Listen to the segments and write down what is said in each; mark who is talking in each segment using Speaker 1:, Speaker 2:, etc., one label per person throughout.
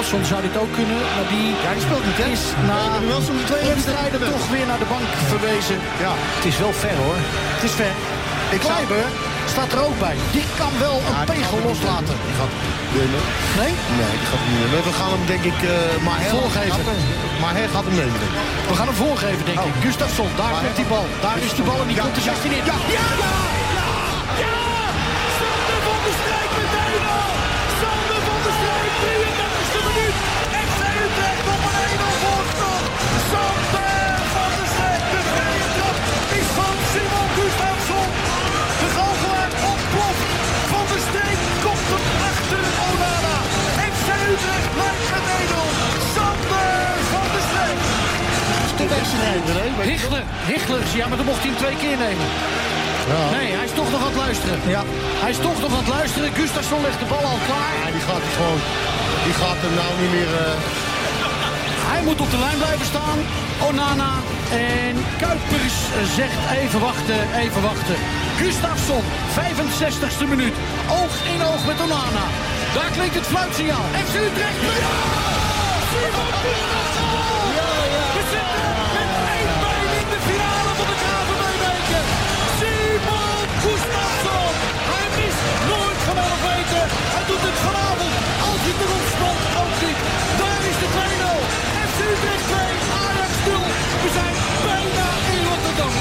Speaker 1: Gustafsson zou dit ook kunnen, maar die,
Speaker 2: Ja, die speelt niet, hè?
Speaker 1: is na
Speaker 2: Nee, nu wel zo'n twee
Speaker 1: één
Speaker 2: wedstrijden
Speaker 1: week
Speaker 2: weg.
Speaker 1: toch weer naar de bank verwezen.
Speaker 2: Ja.
Speaker 1: Het is wel ver hoor. Het is ver.
Speaker 2: Ik zou-
Speaker 1: Kleiber staat er ook bij. Die kan wel een
Speaker 2: Ja, die gaat
Speaker 1: pegel
Speaker 2: het niet
Speaker 1: loslaten.
Speaker 2: doen. Die gaat het winnen.
Speaker 1: Nee?
Speaker 2: Nee, die gaat het niet winnen. We gaan hem denk ik... eh maar
Speaker 1: Voorgeven.
Speaker 2: Maar hij gaat hem nemen, denk ik.
Speaker 1: We gaan hem voorgeven, denk
Speaker 2: Oh.
Speaker 1: ik. Gustafsson, daar
Speaker 2: Maar-
Speaker 1: komt die bal. Daar is de bal en die
Speaker 2: Ja,
Speaker 1: komt de
Speaker 2: ja,
Speaker 1: 16 in.
Speaker 2: ja.
Speaker 3: Sander van der Streek met 1-0. Sander van der Streek, 33e minuut. FC Utrecht op een 1-0 voorsprong. Sander van der Streek, de vrije trap is van Simon Gustafsson. De goochelaar ontploft. Van der Streek komt hem achter Onana. FC Utrecht maakt het 1-0. Sander van der Streek.
Speaker 2: De wedstrijd,
Speaker 1: Hichler, Hichler, ja, maar dan mocht hij hem twee keer nemen.
Speaker 2: Ja.
Speaker 1: Nee, hij is toch nog aan het luisteren.
Speaker 2: Oh. Ja.
Speaker 1: Hij is toch nog aan het luisteren. Gustafsson legt de bal al klaar.
Speaker 2: Ja, die gaat hij gewoon... Die gaat hem nou niet meer... eh,
Speaker 1: Hij moet op de lijn blijven staan. Onana en Kuipers zegt even wachten, even wachten. Gustafsson, 65ste minuut. Oog in oog met Onana. Daar klinkt het fluitsignaal. FC Utrecht.
Speaker 3: Simon Gustafsson! We zitten met één been in de finale van de KVB-beker. Simon Gustafsson! Hij mist nooit van alle weken. Hij doet het vanavond als hij erop stond ook niet. Daar is de 2-0. FC Utrecht 2, Ajax 0. We zijn bijna in Rotterdam.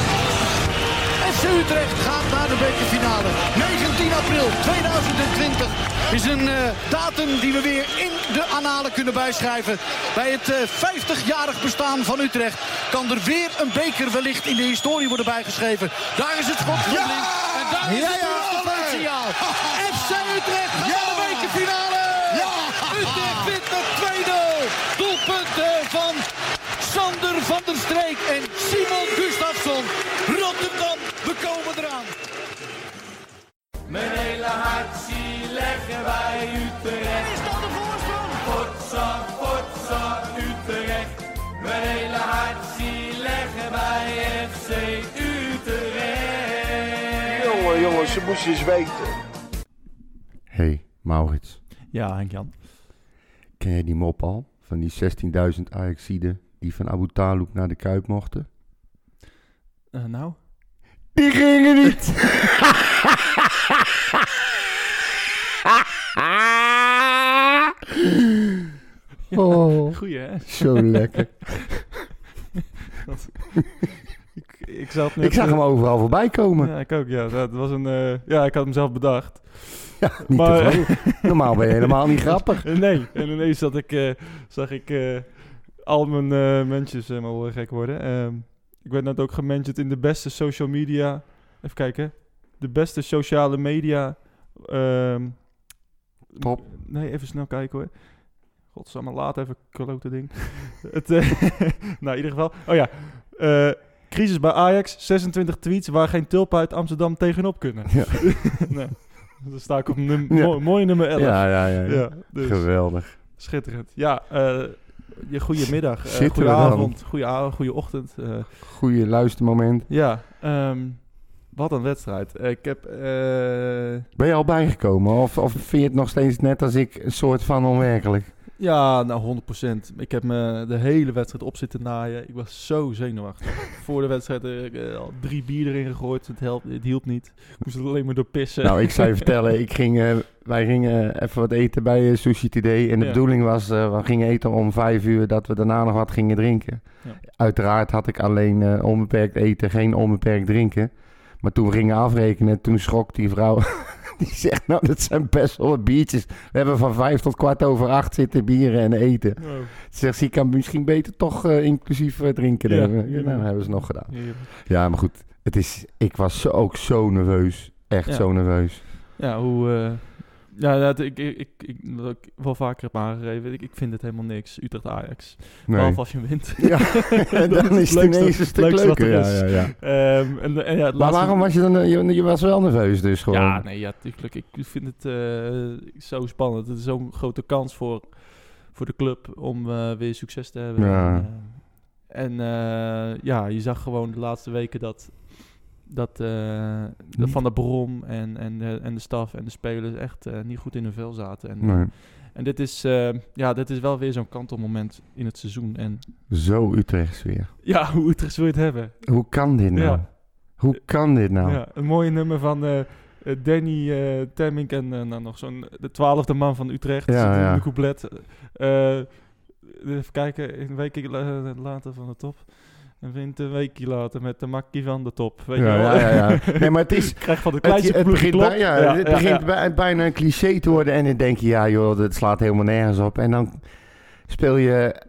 Speaker 1: FC Utrecht gaat naar de bekerfinale. 19 april 2020 is een eh, datum die we weer in de analen kunnen bijschrijven. Bij het eh, 50-jarig bestaan van Utrecht kan er weer een beker wellicht in de historie worden bijgeschreven. Daar is het schot van
Speaker 2: Ja!
Speaker 1: Blind. En daar is
Speaker 2: Ja,
Speaker 1: het
Speaker 2: ja,
Speaker 1: eerste
Speaker 2: Aller!
Speaker 1: signaal. FC Utrecht gaat
Speaker 2: Ja!
Speaker 1: naar de bekerfinale.
Speaker 2: Ja!
Speaker 1: Utrecht wint met 2-0. Doelpunten van Sander van der Streek en Simon Gustafsson. Rotterdam, we komen eraan.
Speaker 4: Mijn hele hart zie leggen wij Utrecht.
Speaker 3: Is dat de voorsprong?
Speaker 4: Potsa, potsa, Utrecht. Mijn hele hart zie leggen wij FC Utrecht.
Speaker 5: Jongen, jongen, ze moesten eens weten.
Speaker 6: hey, Maurits,
Speaker 7: Ja, Henk-Jan.
Speaker 6: ken jij die mop al? Van die 16.000 Ajaxiden die van Abu Talib naar de Kuip mochten?
Speaker 7: Eh, nou?
Speaker 6: Die gingen niet! oh,
Speaker 7: Goeie, hè?
Speaker 6: zo lekker.
Speaker 7: Ik, ik, zat net,
Speaker 6: Ik zag
Speaker 7: eh,
Speaker 6: hem overal voorbij komen.
Speaker 7: Ja, ik ook, ja. Dat was een, eh, ja, ik had hem zelf bedacht.
Speaker 6: Ja, niet
Speaker 7: Maar-
Speaker 6: te veel. Normaal ben je helemaal niet grappig.
Speaker 7: Eh, nee, en ineens zat ik, eh, zag ik eh, al mijn eh mensjes helemaal gek worden. Ehm, ik werd net ook gemanaged in de beste social media. Even kijken. De beste sociale media. ehm,
Speaker 6: Top.
Speaker 7: Nee, even snel kijken hoor. Godsamme, laat even klote ding. Het, eh, nou, in ieder geval. Oh ja. Eh, crisis bij Ajax. 26 tweets waar geen tulpen uit Amsterdam tegenop kunnen.
Speaker 6: Ja.
Speaker 7: nee. Dan sta ik op num
Speaker 6: Ja.
Speaker 7: mooi, mooie nummer 11.
Speaker 6: Ja, ja, ja. ja.
Speaker 7: Ja, dus.
Speaker 6: Geweldig.
Speaker 7: Schitterend. Ja, eh je goedemiddag, eh,
Speaker 6: Zitten
Speaker 7: middag,
Speaker 6: we
Speaker 7: goede
Speaker 6: dan?
Speaker 7: avond, goede avond, goede ochtend. eh.
Speaker 6: Goeie luistermoment.
Speaker 7: ja, ehm, wat een wedstrijd. Eh, ik heb, eh,
Speaker 6: Ben je al bijgekomen? Of, of vind je het nog steeds net als ik een soort van onwerkelijk?
Speaker 7: ja, nou 100%. Ik heb me de hele wedstrijd op zitten naaien. Ik was zo zenuwachtig. Voor de wedstrijd eh, ik, eh, al drie bier erin gegooid. Het, helpt, het hielp niet. Ik moest er alleen maar door pissen.
Speaker 6: Nou, ik zou je vertellen, ik ging, eh, wij gingen even wat eten bij eh, Sushi Today. En de
Speaker 7: Ja.
Speaker 6: bedoeling was, eh, we gingen eten om vijf uur, dat we daarna nog wat gingen drinken.
Speaker 7: Ja.
Speaker 6: Uiteraard had ik alleen eh, onbeperkt eten, geen onbeperkt drinken. Maar toen we gingen afrekenen, toen schrok die vrouw. Die zegt, nou, dat zijn best wel wat biertjes. We hebben van vijf tot kwart over acht zitten bieren en eten.
Speaker 7: Oh,
Speaker 6: Ze zegt, ze kan misschien beter toch eh, inclusief eh, drinken.
Speaker 7: Ja.
Speaker 6: nemen. Ja, nou, dat hebben ze nog gedaan.
Speaker 7: hier.
Speaker 6: Ja, maar goed. Het is, ik was zo, ook zo nerveus. Echt
Speaker 7: Ja.
Speaker 6: zo nerveus.
Speaker 7: Ja, hoe... eh, ja, dat, ik, ik, ik, ik, dat ik wel vaker heb aangegeven. Ik, ik vind het helemaal niks. Utrecht-Ajax.
Speaker 6: Nee.
Speaker 7: Behalve als je wint.
Speaker 6: Ja, en
Speaker 7: Dat
Speaker 6: dan is het
Speaker 7: leukste-
Speaker 6: ineens een stuk
Speaker 7: leukste wat
Speaker 6: leuker.
Speaker 7: er
Speaker 6: Ja,
Speaker 7: is.
Speaker 6: ja, ja.
Speaker 7: Ehm, en, en ja,
Speaker 6: Maar
Speaker 7: het laatste-
Speaker 6: waarom was je dan... eh, Je, je was wel nerveus dus gewoon.
Speaker 7: Ja, nee, ja, tuurlijk. Ik vind het eh, zo spannend. Het is zo'n grote kans voor, voor de club om eh, weer succes te hebben.
Speaker 6: Ja.
Speaker 7: En, eh, en eh, ja, je zag gewoon de laatste weken dat, dat eh, de
Speaker 6: Niet-
Speaker 7: Van der Brom en, en, de, en de staf en de spelers echt eh, niet goed in hun vel zaten. En,
Speaker 6: Nee.
Speaker 7: En dit is, eh, ja, dit is wel weer zo'n kantelmoment in het seizoen. En
Speaker 6: Zo Utrechts weer.
Speaker 7: ja, hoe Utrecht wil je het hebben?
Speaker 6: Hoe kan dit nou?
Speaker 7: Ja.
Speaker 6: Hoe kan dit nou?
Speaker 7: Ja, een mooi nummer van eh, eh, Danny eh, Temmink en eh, nou, nog zo'n de twaalfde man van Utrecht.
Speaker 6: Ja,
Speaker 7: zit in
Speaker 6: ja.
Speaker 7: de couplet. Eh, eh, even kijken, een weekje la- later van de top. En wint een weekje later met de makkie van de top. Weet
Speaker 6: Ja,
Speaker 7: je wel?
Speaker 6: ja, ja, ja. Nee, maar het is-
Speaker 7: Krijg van de
Speaker 6: Het,
Speaker 7: kleinste
Speaker 6: het
Speaker 7: ploeg
Speaker 6: begint,
Speaker 7: klop.
Speaker 6: bij- ja, het
Speaker 7: ja,
Speaker 6: begint
Speaker 7: ja.
Speaker 6: bij- bijna een cliché te worden. En dan denk je, ja joh, dat slaat helemaal nergens op. En dan speel je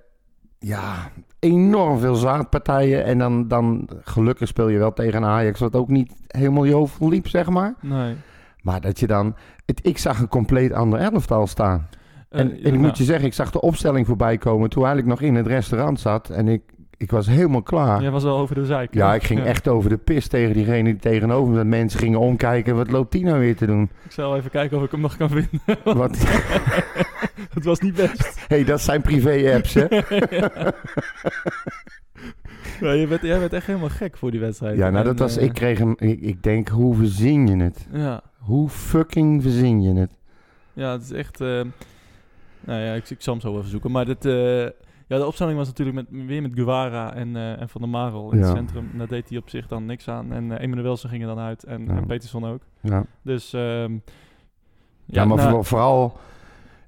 Speaker 6: ja, enorm veel zaadpartijen. En dan, dan gelukkig speel je wel tegen een Ajax wat ook niet helemaal je hoofd liep, zeg maar.
Speaker 7: Nee.
Speaker 6: Maar dat je dan... Het, ik zag een compleet ander elftal staan. En,
Speaker 7: Eh,
Speaker 6: en ik
Speaker 7: ja.
Speaker 6: moet je zeggen, ik zag de opstelling voorbij komen toen eigenlijk nog in het restaurant zat. En ik, ik was helemaal klaar.
Speaker 7: Jij was wel over de zeik. hè?
Speaker 6: Ah. Ja, ik ging echt over de pis tegen diegene die tegenover me. zat. Mensen gingen omkijken, wat loopt die nou weer te doen?
Speaker 7: Ik zal even kijken of ik hem nog kan vinden.
Speaker 6: Wat,
Speaker 7: Het was niet best.
Speaker 6: hey, dat zijn privé-apps, hè?
Speaker 7: Ja, je bent, jij bent echt helemaal gek voor die wedstrijd.
Speaker 6: Ja, nou, dat
Speaker 7: En,
Speaker 6: was...
Speaker 7: eh,
Speaker 6: Ik kreeg hem... Ik, ik denk, hoe verzin je het?
Speaker 7: Ja.
Speaker 6: Hoe fucking verzin je het?
Speaker 7: Ja, het is echt. eh, nou ja, ik, ik zal hem zo even zoeken. Maar dit, eh, ja, de opstelling was natuurlijk met, weer met Guevara en, eh, en Van der Marel in
Speaker 6: Ja.
Speaker 7: het centrum. En Daar deed hij op zich dan niks aan. En eh Emmanuelsen ging er dan uit. En,
Speaker 6: Ja.
Speaker 7: en Peterson ook.
Speaker 6: Ja, ja,
Speaker 7: Dus. ehm, ja,
Speaker 6: maar
Speaker 7: nou,
Speaker 6: vooral, vooral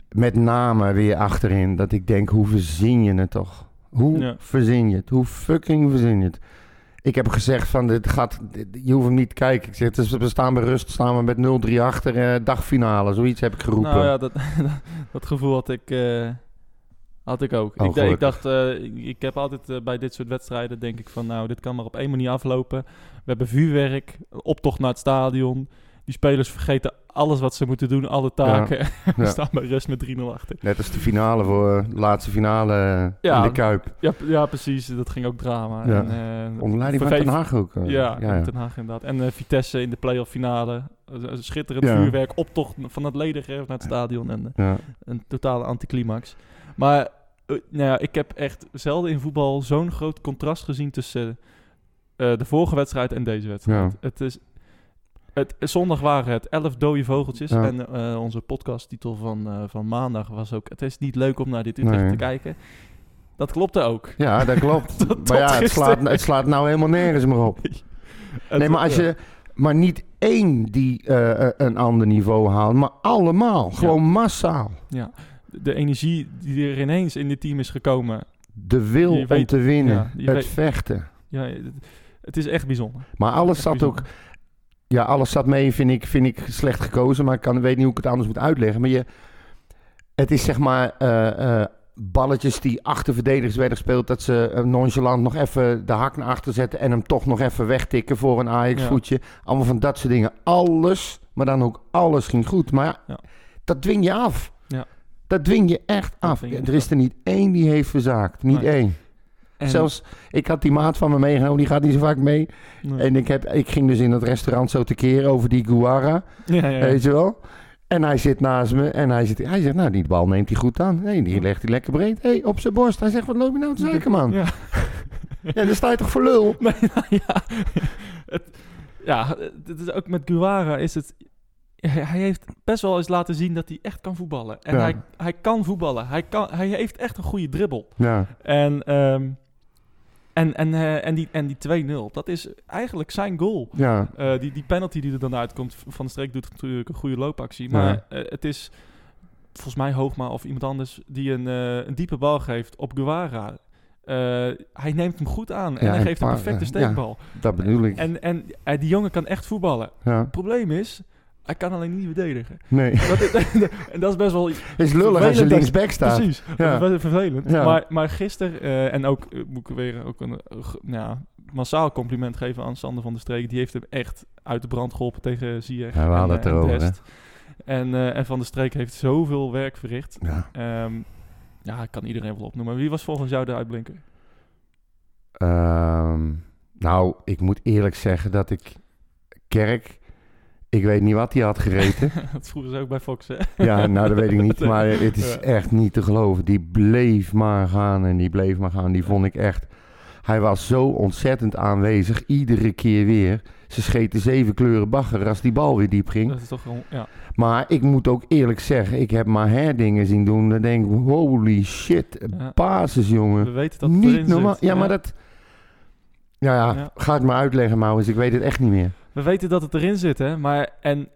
Speaker 6: met name weer achterin. Dat ik denk, hoe verzin je het toch? Hoe
Speaker 7: Ja.
Speaker 6: verzin je het? Hoe fucking verzin je het? Ik heb gezegd van, dit gaat, dit- je hoeft hem niet te kijken. Ik zeg, het is- we staan bij rust, staan we met 0-3 achter, eh, dagfinale. Zoiets heb ik geroepen.
Speaker 7: Nou ja, dat, dat gevoel had ik, eh, had ik ook.
Speaker 6: Oh,
Speaker 7: ik, d- ik
Speaker 6: gelukkig.
Speaker 7: dacht, eh, ik, ik heb altijd eh, bij dit soort wedstrijden, denk ik van, nou, dit kan maar op één manier aflopen. We hebben vuurwerk, een optocht naar het stadion. Die spelers vergeten alles wat ze moeten doen, alle taken. We
Speaker 6: ja.
Speaker 7: staan bij rust met 3-0 achter.
Speaker 6: Net als de finale voor de laatste finale eh,
Speaker 7: Ja.
Speaker 6: in de Kuip.
Speaker 7: Ja, p- ja, precies. Dat ging ook drama.
Speaker 6: Ja.
Speaker 7: En, eh,
Speaker 6: Onder leiding van
Speaker 7: verve-
Speaker 6: Ten Haag ook. eh.
Speaker 7: Ja,
Speaker 6: ja, ja.
Speaker 7: Den Haag inderdaad. En eh, Vitesse in de play-off finale. Eh, eh, Schitterend
Speaker 6: Ja.
Speaker 7: vuurwerk, optocht van het ledengerf naar het stadion. En, eh,
Speaker 6: Ja.
Speaker 7: een totale anticlimax. Maar eh, nou ja, ik heb echt zelden in voetbal zo'n groot contrast gezien tussen eh, de vorige wedstrijd en deze wedstrijd.
Speaker 6: Ja.
Speaker 7: Het is, het, zondag waren het elf dode vogeltjes.
Speaker 6: Ja.
Speaker 7: En eh, onze podcasttitel van, eh, van maandag was ook... Het is niet leuk om naar dit Utrecht
Speaker 6: Nee.
Speaker 7: te kijken. Dat klopte ook.
Speaker 6: Ja, dat klopt. maar ja, het
Speaker 7: gisteren.
Speaker 6: slaat, het slaat nou helemaal nergens meer op. Nee, maar als je maar niet één die eh, eh, een ander niveau haalt, maar allemaal. Gewoon massaal.
Speaker 7: De energie die er ineens in dit team is gekomen.
Speaker 6: De wil
Speaker 7: Je weet-
Speaker 6: om te winnen.
Speaker 7: ja, je
Speaker 6: het
Speaker 7: weet-
Speaker 6: vechten.
Speaker 7: Ja, het, het is echt bijzonder.
Speaker 6: Maar alles
Speaker 7: Echt
Speaker 6: zat ook...
Speaker 7: bijzonder.
Speaker 6: Ja, alles zat mee, vind ik, vind ik slecht gekozen. Maar ik kan, weet niet hoe ik het anders moet uitleggen. Maar je, het is zeg maar eh, eh, balletjes die achter verdedigers werden gespeeld. Dat ze eh, nonchalant nog even de hak naar achter zetten. En hem toch nog even wegtikken voor een Ajax
Speaker 7: Ja.
Speaker 6: voetje. Allemaal van dat soort dingen. Alles, maar dan ook alles ging goed. Maar ja,
Speaker 7: Ja.
Speaker 6: dat dwing je af.
Speaker 7: Ja.
Speaker 6: Dat dwing je echt af.
Speaker 7: dwing je
Speaker 6: er is er niet één die heeft verzaakt. Niet
Speaker 7: Nee.
Speaker 6: één.
Speaker 7: En-
Speaker 6: Zelfs, ik had die maat van me meegenomen. Die gaat niet zo vaak mee.
Speaker 7: Nee.
Speaker 6: En ik, heb, ik ging dus in dat restaurant zo tekeer over die Guara,
Speaker 7: ja, ja, ja.
Speaker 6: weet je wel. En hij zit naast me en hij, zit, hij zegt, nou, die bal neemt hij goed aan. Nee, die legt hij lekker breed. hey, op zijn borst. Hij zegt, wat loop je nou te zeiken, man?
Speaker 7: Ja.
Speaker 6: Ja, dan sta je toch voor lul?
Speaker 7: Nee, nou ja. Het, ja, het is ook met Guara is het... Hij hij heeft best wel eens laten zien dat hij echt kan voetballen. En
Speaker 6: Ja.
Speaker 7: hij, hij kan voetballen. Hij, kan, hij heeft echt een goede dribbel.
Speaker 6: Ja,
Speaker 7: En, ehm, en, en, eh, en die, en die 2-0, dat is eigenlijk zijn goal.
Speaker 6: ja.
Speaker 7: Eh, die, die penalty die er dan uitkomt, Van de Streek doet natuurlijk een goede loopactie. Maar eh, het is volgens mij Hoogma of iemand anders die een, eh, een diepe bal geeft op Guara. Eh, hij neemt hem goed aan en
Speaker 6: Ja,
Speaker 7: hij
Speaker 6: en
Speaker 7: geeft een
Speaker 6: pa-
Speaker 7: perfecte
Speaker 6: eh, ja.
Speaker 7: steekbal.
Speaker 6: Dat bedoel ik.
Speaker 7: En, en eh, die jongen kan echt voetballen.
Speaker 6: Ja.
Speaker 7: Het probleem is, hij kan alleen niet verdedigen.
Speaker 6: Nee,
Speaker 7: Dat is, en dat is best wel...
Speaker 6: is lullig als je
Speaker 7: Vervelend dat-
Speaker 6: linksback staat.
Speaker 7: Precies, dat is
Speaker 6: Ja.
Speaker 7: best wel vervelend.
Speaker 6: Ja.
Speaker 7: Maar, maar gisteren, eh, en ook eh, moet ik weer ook een eh, g- nou ja, massaal compliment geven aan Sander van der Streek. Die heeft hem echt uit de brand geholpen tegen Ziyech
Speaker 6: Ja, we hadden
Speaker 7: eh,
Speaker 6: het erover, hè.
Speaker 7: Dest. En, eh, en Van der Streek heeft zoveel werk verricht.
Speaker 6: Ja.
Speaker 7: Ehm, ja, ik kan iedereen wel opnoemen. Wie was volgens jou de uitblinker?
Speaker 6: Ehm, nou, ik moet eerlijk zeggen dat ik... Kerk, ik weet niet wat hij had gereten.
Speaker 7: dat vroegen ze ook bij Fox, hè?
Speaker 6: Ja, nou dat weet ik niet. Maar het is
Speaker 7: Ja.
Speaker 6: echt niet te geloven. Die bleef maar gaan en die bleef maar gaan. Die vond ik echt. Hij was zo ontzettend aanwezig. Iedere keer weer. Ze scheten zeven kleuren bagger als die bal weer diep ging.
Speaker 7: Dat is toch gewoon, ja.
Speaker 6: Maar ik moet ook eerlijk zeggen, ik heb maar herdingen zien doen. Dan denk ik, holy shit,
Speaker 7: Ja.
Speaker 6: basis jongen.
Speaker 7: We weten dat het erin
Speaker 6: Niet
Speaker 7: zit.
Speaker 6: normaal. Ja, maar dat... Nou ja,
Speaker 7: Ja.
Speaker 6: ga het maar uitleggen, Maurits. Ik weet het echt niet meer.
Speaker 7: We weten dat het erin zit, hè. Maar en,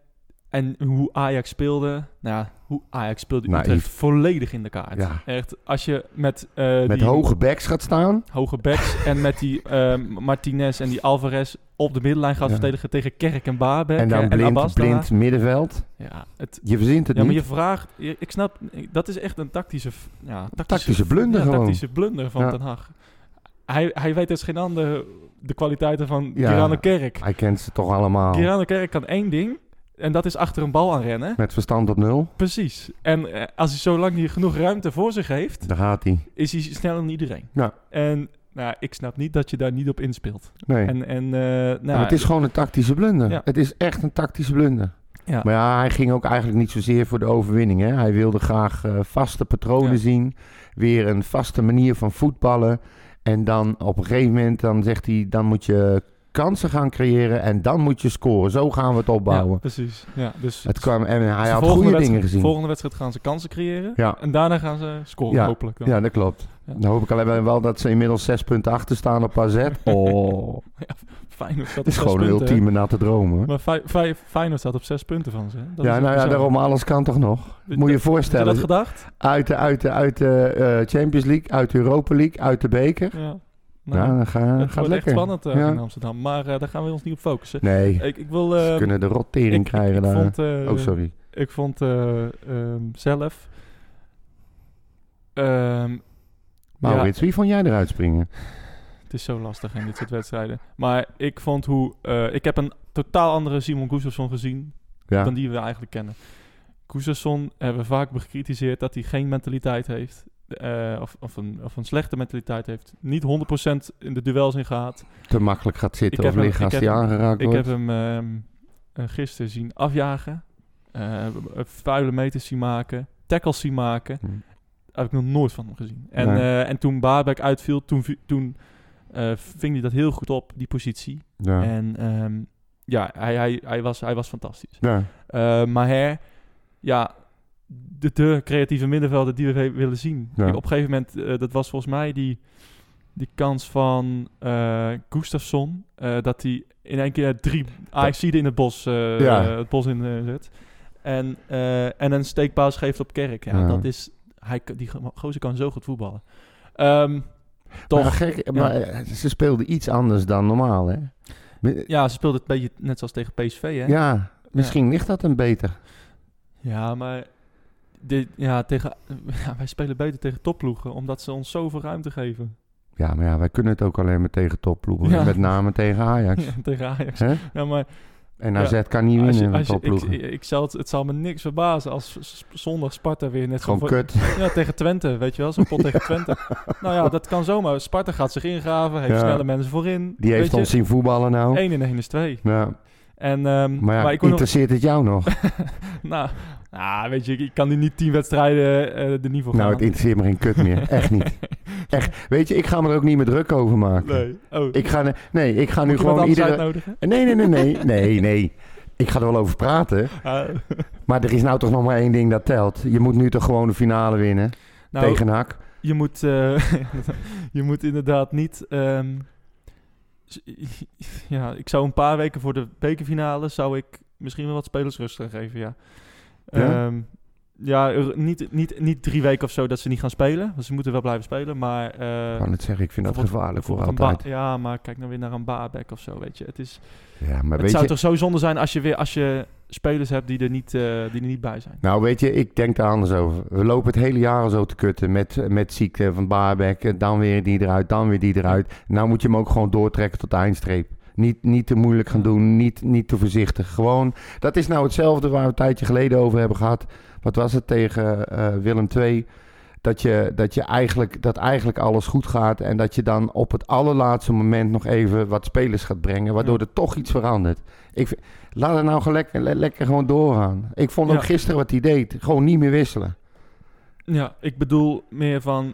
Speaker 7: en hoe Ajax speelde... Nou ja, hoe Ajax speelde
Speaker 6: Naïef.
Speaker 7: Utrecht volledig in de kaart.
Speaker 6: Ja.
Speaker 7: Echt, als je met, eh,
Speaker 6: Met
Speaker 7: die
Speaker 6: hoge backs gaat staan.
Speaker 7: hoge backs en met die eh, Martinez en die Alvarez op de middenlijn gaat
Speaker 6: Ja.
Speaker 7: verdedigen tegen Kerk en Baarbek
Speaker 6: En dan blind,
Speaker 7: Abasta.
Speaker 6: blind middenveld.
Speaker 7: Ja, het,
Speaker 6: Je verzint het
Speaker 7: ja, maar
Speaker 6: niet.
Speaker 7: je vraagt... je- ik snap, ik- dat is echt een tactische... f- Ja, tactische,
Speaker 6: Tactische blunder
Speaker 7: ja,
Speaker 6: gewoon.
Speaker 7: tactische blunder van
Speaker 6: Ja.
Speaker 7: Den Haag. Hij, hij weet als geen ander de kwaliteiten van
Speaker 6: Ja. Oh.
Speaker 7: Gerard de Kerk.
Speaker 6: Hij kent ze toch allemaal.
Speaker 7: Gerard de Kerk kan één ding... En dat is achter een bal aan rennen.
Speaker 6: Met verstand op nul.
Speaker 7: Precies. En eh, als hij zo lang hier genoeg ruimte voor zich heeft,
Speaker 6: Daar gaat hij.
Speaker 7: is hij sneller dan iedereen.
Speaker 6: Ja.
Speaker 7: En nou, ik snap niet dat je daar niet op inspeelt.
Speaker 6: Nee.
Speaker 7: En, en eh, nou,
Speaker 6: Maar het is gewoon een tactische blunder.
Speaker 7: Ja.
Speaker 6: Het is echt een tactische blunder.
Speaker 7: Ja.
Speaker 6: Maar ja, hij ging ook eigenlijk niet zozeer voor de overwinning. Hè? Hij wilde graag eh, vaste patronen
Speaker 7: Ja.
Speaker 6: zien. Weer een vaste manier van voetballen. En dan op een gegeven moment dan zegt hij... dan moet je kansen gaan creëren en dan moet je scoren. Zo gaan we het
Speaker 7: Ja,
Speaker 6: opbouwen.
Speaker 7: precies. Ja, dus
Speaker 6: Het kwam, en hij had
Speaker 7: de volgende
Speaker 6: goede
Speaker 7: wedstrijd-
Speaker 6: dingen gezien.
Speaker 7: Volgende wedstrijd gaan ze kansen creëren.
Speaker 6: Ja.
Speaker 7: En daarna gaan ze scoren,
Speaker 6: Ja.
Speaker 7: hopelijk. Dan. Ja.
Speaker 6: Ja, dat klopt.
Speaker 7: Ja.
Speaker 6: Dan hoop ik alleen wel dat ze inmiddels zes punten achter staan op AZ. Oh,
Speaker 7: Feyenoord
Speaker 6: dat
Speaker 7: staat op
Speaker 6: is
Speaker 7: zes
Speaker 6: gewoon een
Speaker 7: punten, hè.
Speaker 6: ultieme natte droom hoor.
Speaker 7: Maar Fey- Fey- Feyenoord staat op zes punten van ze. hè. Dat
Speaker 6: ja,
Speaker 7: is
Speaker 6: nou ja,
Speaker 7: bizar.
Speaker 6: daarom alles kan toch nog. Moet je je
Speaker 7: Heb je dat
Speaker 6: voorstellen,
Speaker 7: gedacht?
Speaker 6: uit de, uit de, uit de eh, Champions League, uit de Europa League, uit de beker.
Speaker 7: Ja. Nou,
Speaker 6: Ja, dan ga,
Speaker 7: het
Speaker 6: gaat
Speaker 7: wordt echt
Speaker 6: lekker.
Speaker 7: spannend eh,
Speaker 6: Ja.
Speaker 7: in Amsterdam. Maar eh, daar gaan we ons niet op focussen.
Speaker 6: Nee,
Speaker 7: Ik, ik wil...
Speaker 6: ze
Speaker 7: eh,
Speaker 6: kunnen de
Speaker 7: ik-
Speaker 6: rottering
Speaker 7: ik-
Speaker 6: krijgen
Speaker 7: ik
Speaker 6: daar.
Speaker 7: vond, eh,
Speaker 6: oh, sorry.
Speaker 7: Ik vond eh, ehm, zelf. ehm,
Speaker 6: Maurits, wie vond jij eruit springen?
Speaker 7: het is zo lastig in dit soort wedstrijden. Maar ik vond hoe. eh, ik heb een totaal andere Simon Gustafsson gezien.
Speaker 6: Ja,
Speaker 7: dan die we eigenlijk kennen. Gustafsson hebben we vaak bekritiseerd dat hij geen mentaliteit heeft. eh, of, of, een, of een slechte mentaliteit heeft. Niet 100% in de duels in gaat.
Speaker 6: te makkelijk gaat zitten
Speaker 7: ik
Speaker 6: of
Speaker 7: heb hem-
Speaker 6: liggen als
Speaker 7: ik
Speaker 6: die
Speaker 7: heb-
Speaker 6: aangeraakt
Speaker 7: Ik
Speaker 6: wordt.
Speaker 7: heb hem ehm, eh, gisteren zien afjagen. eh, vuile meters zien maken. Tackles zien maken.
Speaker 6: Hm.
Speaker 7: heb ik nog nooit van hem gezien. En,
Speaker 6: Nee.
Speaker 7: eh, en toen Baarbek uitviel, toen, vi- toen eh, ving hij dat heel goed op, die positie.
Speaker 6: Ja.
Speaker 7: En ehm, ja, hij, hij, hij, was, hij was fantastisch.
Speaker 6: Ja.
Speaker 7: Eh Maher, ja, de, de creatieve middenvelder die we we willen zien.
Speaker 6: Ja.
Speaker 7: Op een gegeven moment, eh, dat was volgens mij die, die kans van eh Gustafsson. eh, dat hij in één keer drie AFC'den in het bos, eh,
Speaker 6: Ja.
Speaker 7: eh, het bos in eh, zet. En, eh, en een steekpaas geeft op Kerk. Ja,
Speaker 6: Ja.
Speaker 7: Dat is, hij, kan- die go- gozer kan zo goed voetballen. Ehm, toch,
Speaker 6: Maar, gek, maar eh, ze speelden iets anders dan normaal, hè? Mi-
Speaker 7: ja, ze speelde het een beetje net zoals tegen PSV, hè?
Speaker 6: Ja, misschien ligt dat een beter.
Speaker 7: Ja, maar dit, ja, tegen, ja, wij spelen beter tegen topploegen, omdat ze ons zoveel ruimte geven.
Speaker 6: Ja, maar ja, wij kunnen het ook alleen maar tegen topploegen.
Speaker 7: Ja.
Speaker 6: Met name tegen Ajax.
Speaker 7: Ja, tegen Ajax.
Speaker 6: Hè?
Speaker 7: Ja, maar
Speaker 6: En
Speaker 7: Ja.
Speaker 6: AZ kan niet
Speaker 7: als je,
Speaker 6: winnen met
Speaker 7: als je, ik,
Speaker 6: topploegen.
Speaker 7: ik zal het, het zal me niks verbazen als s- zondag Sparta weer net zo
Speaker 6: Gewoon kut.
Speaker 7: Ja, tegen Twente, weet je wel. Zo'n pot tegen Twente. Nou ja, dat kan zomaar. Sparta gaat zich ingraven, heeft
Speaker 6: Ja.
Speaker 7: snelle mensen voorin.
Speaker 6: Die heeft
Speaker 7: weet
Speaker 6: ons zien voetballen nou.
Speaker 7: 1 in 1 is 2.
Speaker 6: Ja,
Speaker 7: En, ehm,
Speaker 6: maar ja,
Speaker 7: ik wil nog,
Speaker 6: interesseert het jou nog?
Speaker 7: nou, nou, weet je, ik kan nu niet 10 wedstrijden eh de niveau gaan.
Speaker 6: nou, het interesseert me geen kut meer. Echt niet. Echt. Weet je, ik ga me er ook niet meer druk over maken.
Speaker 7: Nee. Oh,
Speaker 6: Ik ga, ne- nee, ik ga nu
Speaker 7: moet
Speaker 6: gewoon
Speaker 7: iemand anders
Speaker 6: iedere...
Speaker 7: uitnodigen?
Speaker 6: Nee, nee, nee, nee. Nee, nee. Ik ga er wel over praten.
Speaker 7: Ah.
Speaker 6: Maar er is nou toch nog maar één ding dat telt. Je moet nu toch gewoon de finale winnen.
Speaker 7: Nou,
Speaker 6: tegen Hak.
Speaker 7: je moet, eh, je moet inderdaad niet. ehm, s- ja, ik zou een paar weken voor de bekerfinale zou ik misschien wel wat spelers rust gaan geven. Ja,
Speaker 6: Ja?
Speaker 7: Ehm, ja er- niet, niet, niet drie weken of zo dat ze niet gaan spelen. Want ze moeten wel blijven spelen. Maar eh,
Speaker 6: Ik kan het zeggen, ik vind Nou, dat
Speaker 7: bijvoorbeeld-
Speaker 6: gevaarlijk voor
Speaker 7: bijvoorbeeld een
Speaker 6: altijd.
Speaker 7: Ba- ja, maar kijk nou weer naar een baarbek of zo. Weet je, het, is,
Speaker 6: Ja, maar
Speaker 7: het
Speaker 6: weet
Speaker 7: zou
Speaker 6: je...
Speaker 7: toch zo zonde zijn als je weer als je spelers hebt die er niet, eh, die er niet bij zijn.
Speaker 6: Nou, weet je, ik denk daar anders over. We lopen het hele jaar al zo te kutten met, met ziekte van Baarbek. eh, Dan weer die eruit, dan weer die eruit. Nou moet je hem ook gewoon doortrekken tot de eindstreep. Niet, niet te moeilijk gaan doen, niet, niet te voorzichtig. Gewoon, dat is nou hetzelfde waar we een tijdje geleden over hebben gehad. Wat was het tegen eh, Willem II? Dat, je, dat, je eigenlijk, dat eigenlijk alles goed gaat en dat je dan op het allerlaatste moment nog even wat spelers gaat brengen, waardoor er toch iets verandert. Ik, vind- laat het nou gewoon lekker, le- lekker gewoon doorgaan. Ik vond ook
Speaker 7: Ja.
Speaker 6: gisteren wat hij deed, gewoon niet meer wisselen.
Speaker 7: Ja, ik bedoel meer van,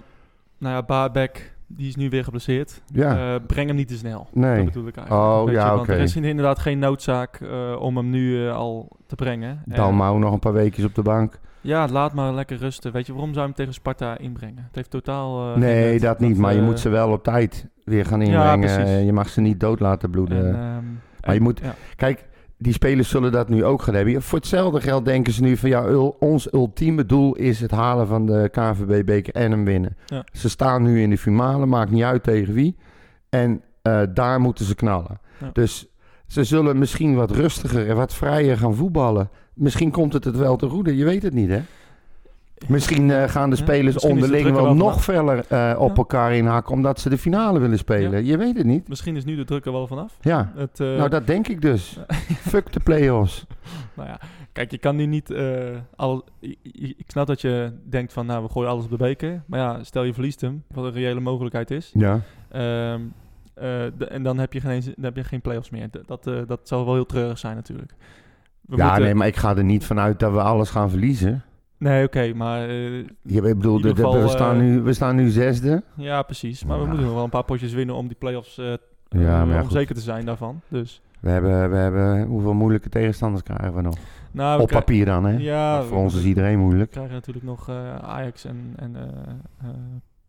Speaker 7: nou ja, Baarbek Die is nu weer geblesseerd.
Speaker 6: Ja,
Speaker 7: Eh, breng hem niet te snel.
Speaker 6: nee.
Speaker 7: Dat bedoel ik eigenlijk.
Speaker 6: Oh,
Speaker 7: Weet je,
Speaker 6: ja,
Speaker 7: want
Speaker 6: oké.
Speaker 7: Er is inderdaad geen noodzaak eh, om hem nu eh, al te brengen. En-
Speaker 6: Dalmau nog een paar weekjes op de bank.
Speaker 7: Ja, laat maar lekker rusten. Weet je, waarom zou je hem tegen Sparta inbrengen? Het heeft totaal... eh, geen
Speaker 6: Nee,
Speaker 7: nut.
Speaker 6: dat niet. Maar je
Speaker 7: eh,
Speaker 6: moet ze wel op tijd weer gaan
Speaker 7: Ja,
Speaker 6: inbrengen.
Speaker 7: precies.
Speaker 6: Eh, je mag ze niet dood laten
Speaker 7: en,
Speaker 6: bloeden.
Speaker 7: ehm,
Speaker 6: eh, maar je
Speaker 7: en-
Speaker 6: moet-
Speaker 7: ja.
Speaker 6: Kijk, die spelers zullen dat nu ook gaan hebben. Voor hetzelfde geld denken ze nu van ja, ul- ons ultieme doel is het halen van de KNVB-beker en hem winnen.
Speaker 7: Ja.
Speaker 6: Ze staan nu in de finale, maakt niet uit tegen wie. En eh, daar moeten ze knallen.
Speaker 7: Ja.
Speaker 6: Dus ze zullen misschien wat rustiger en wat vrijer gaan voetballen. Misschien komt het het wel te goede, je weet het niet hè. Misschien eh, gaan de
Speaker 7: Ja,
Speaker 6: spelers
Speaker 7: misschien is de
Speaker 6: onderling
Speaker 7: druk er
Speaker 6: wel
Speaker 7: wel
Speaker 6: nog feller eh, op
Speaker 7: Ja.
Speaker 6: elkaar inhakken omdat ze de finale willen spelen. Je weet het niet.
Speaker 7: Misschien is nu de druk er wel vanaf.
Speaker 6: Ja.
Speaker 7: Het, eh,
Speaker 6: Nou, dat denk ik dus. Fuck de play-offs.
Speaker 7: Nou ja, kijk, je kan nu niet eh al. i- i- Ik snap dat je denkt van, nou, we gooien alles op de beker. Maar ja, stel je verliest hem, wat een reële mogelijkheid is.
Speaker 6: Ja.
Speaker 7: Ehm, eh, d- en dan heb je geen, eens- dan heb je geen play-offs meer. D- Dat, eh, dat zal wel heel treurig zijn natuurlijk. We
Speaker 6: ja,
Speaker 7: moeten-
Speaker 6: nee, maar ik ga er niet vanuit dat we alles gaan verliezen.
Speaker 7: Nee, oké, maar... eh,
Speaker 6: Je, ik bedoel,
Speaker 7: In ieder
Speaker 6: de- de-
Speaker 7: geval,
Speaker 6: we, staan
Speaker 7: eh,
Speaker 6: nu, we staan nu zesde.
Speaker 7: ja, precies. Maar we
Speaker 6: Ja.
Speaker 7: moeten nog wel een paar potjes winnen om die play-offs... eh,
Speaker 6: Ja,
Speaker 7: eh,
Speaker 6: maar ja,
Speaker 7: om
Speaker 6: goed.
Speaker 7: zeker te zijn daarvan. Dus,
Speaker 6: We hebben, we hebben hoeveel moeilijke tegenstanders krijgen we nog?
Speaker 7: nou, we
Speaker 6: Op
Speaker 7: krij-
Speaker 6: papier dan, hè?
Speaker 7: Ja,
Speaker 6: Maar
Speaker 7: we-
Speaker 6: voor ons is iedereen moeilijk.
Speaker 7: We krijgen natuurlijk nog eh, Ajax en, en eh,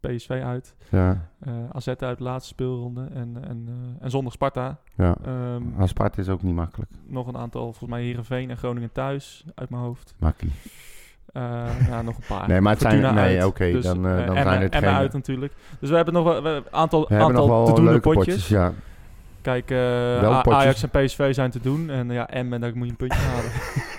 Speaker 7: eh, PSV uit.
Speaker 6: Ja.
Speaker 7: eh AZ uit de laatste speelronde en, en, eh, en zonder Sparta.
Speaker 6: ja.
Speaker 7: Ehm,
Speaker 6: Maar Sparta is ook niet makkelijk.
Speaker 7: nog een aantal, volgens mij Heerenveen en Groningen thuis, uit mijn hoofd.
Speaker 6: Makkie.
Speaker 7: Eh, ja, nog een paar.
Speaker 6: Nee, maar het zijn-
Speaker 7: Fortuna
Speaker 6: nee,
Speaker 7: uit.
Speaker 6: oké, dan, eh,
Speaker 7: eh,
Speaker 6: dan
Speaker 7: Emmen-
Speaker 6: zijn het
Speaker 7: Emmen
Speaker 6: geen-
Speaker 7: uit natuurlijk. Dus we hebben nog wel we hebben een aantal,
Speaker 6: We
Speaker 7: aantal
Speaker 6: hebben nog wel
Speaker 7: te doen
Speaker 6: leuke
Speaker 7: potjes.
Speaker 6: potjes. ja.
Speaker 7: Kijk, eh,
Speaker 6: Wel
Speaker 7: A-
Speaker 6: potjes.
Speaker 7: Ajax en PSV zijn te doen. En eh, ja, Emmen, daar moet je een puntje halen.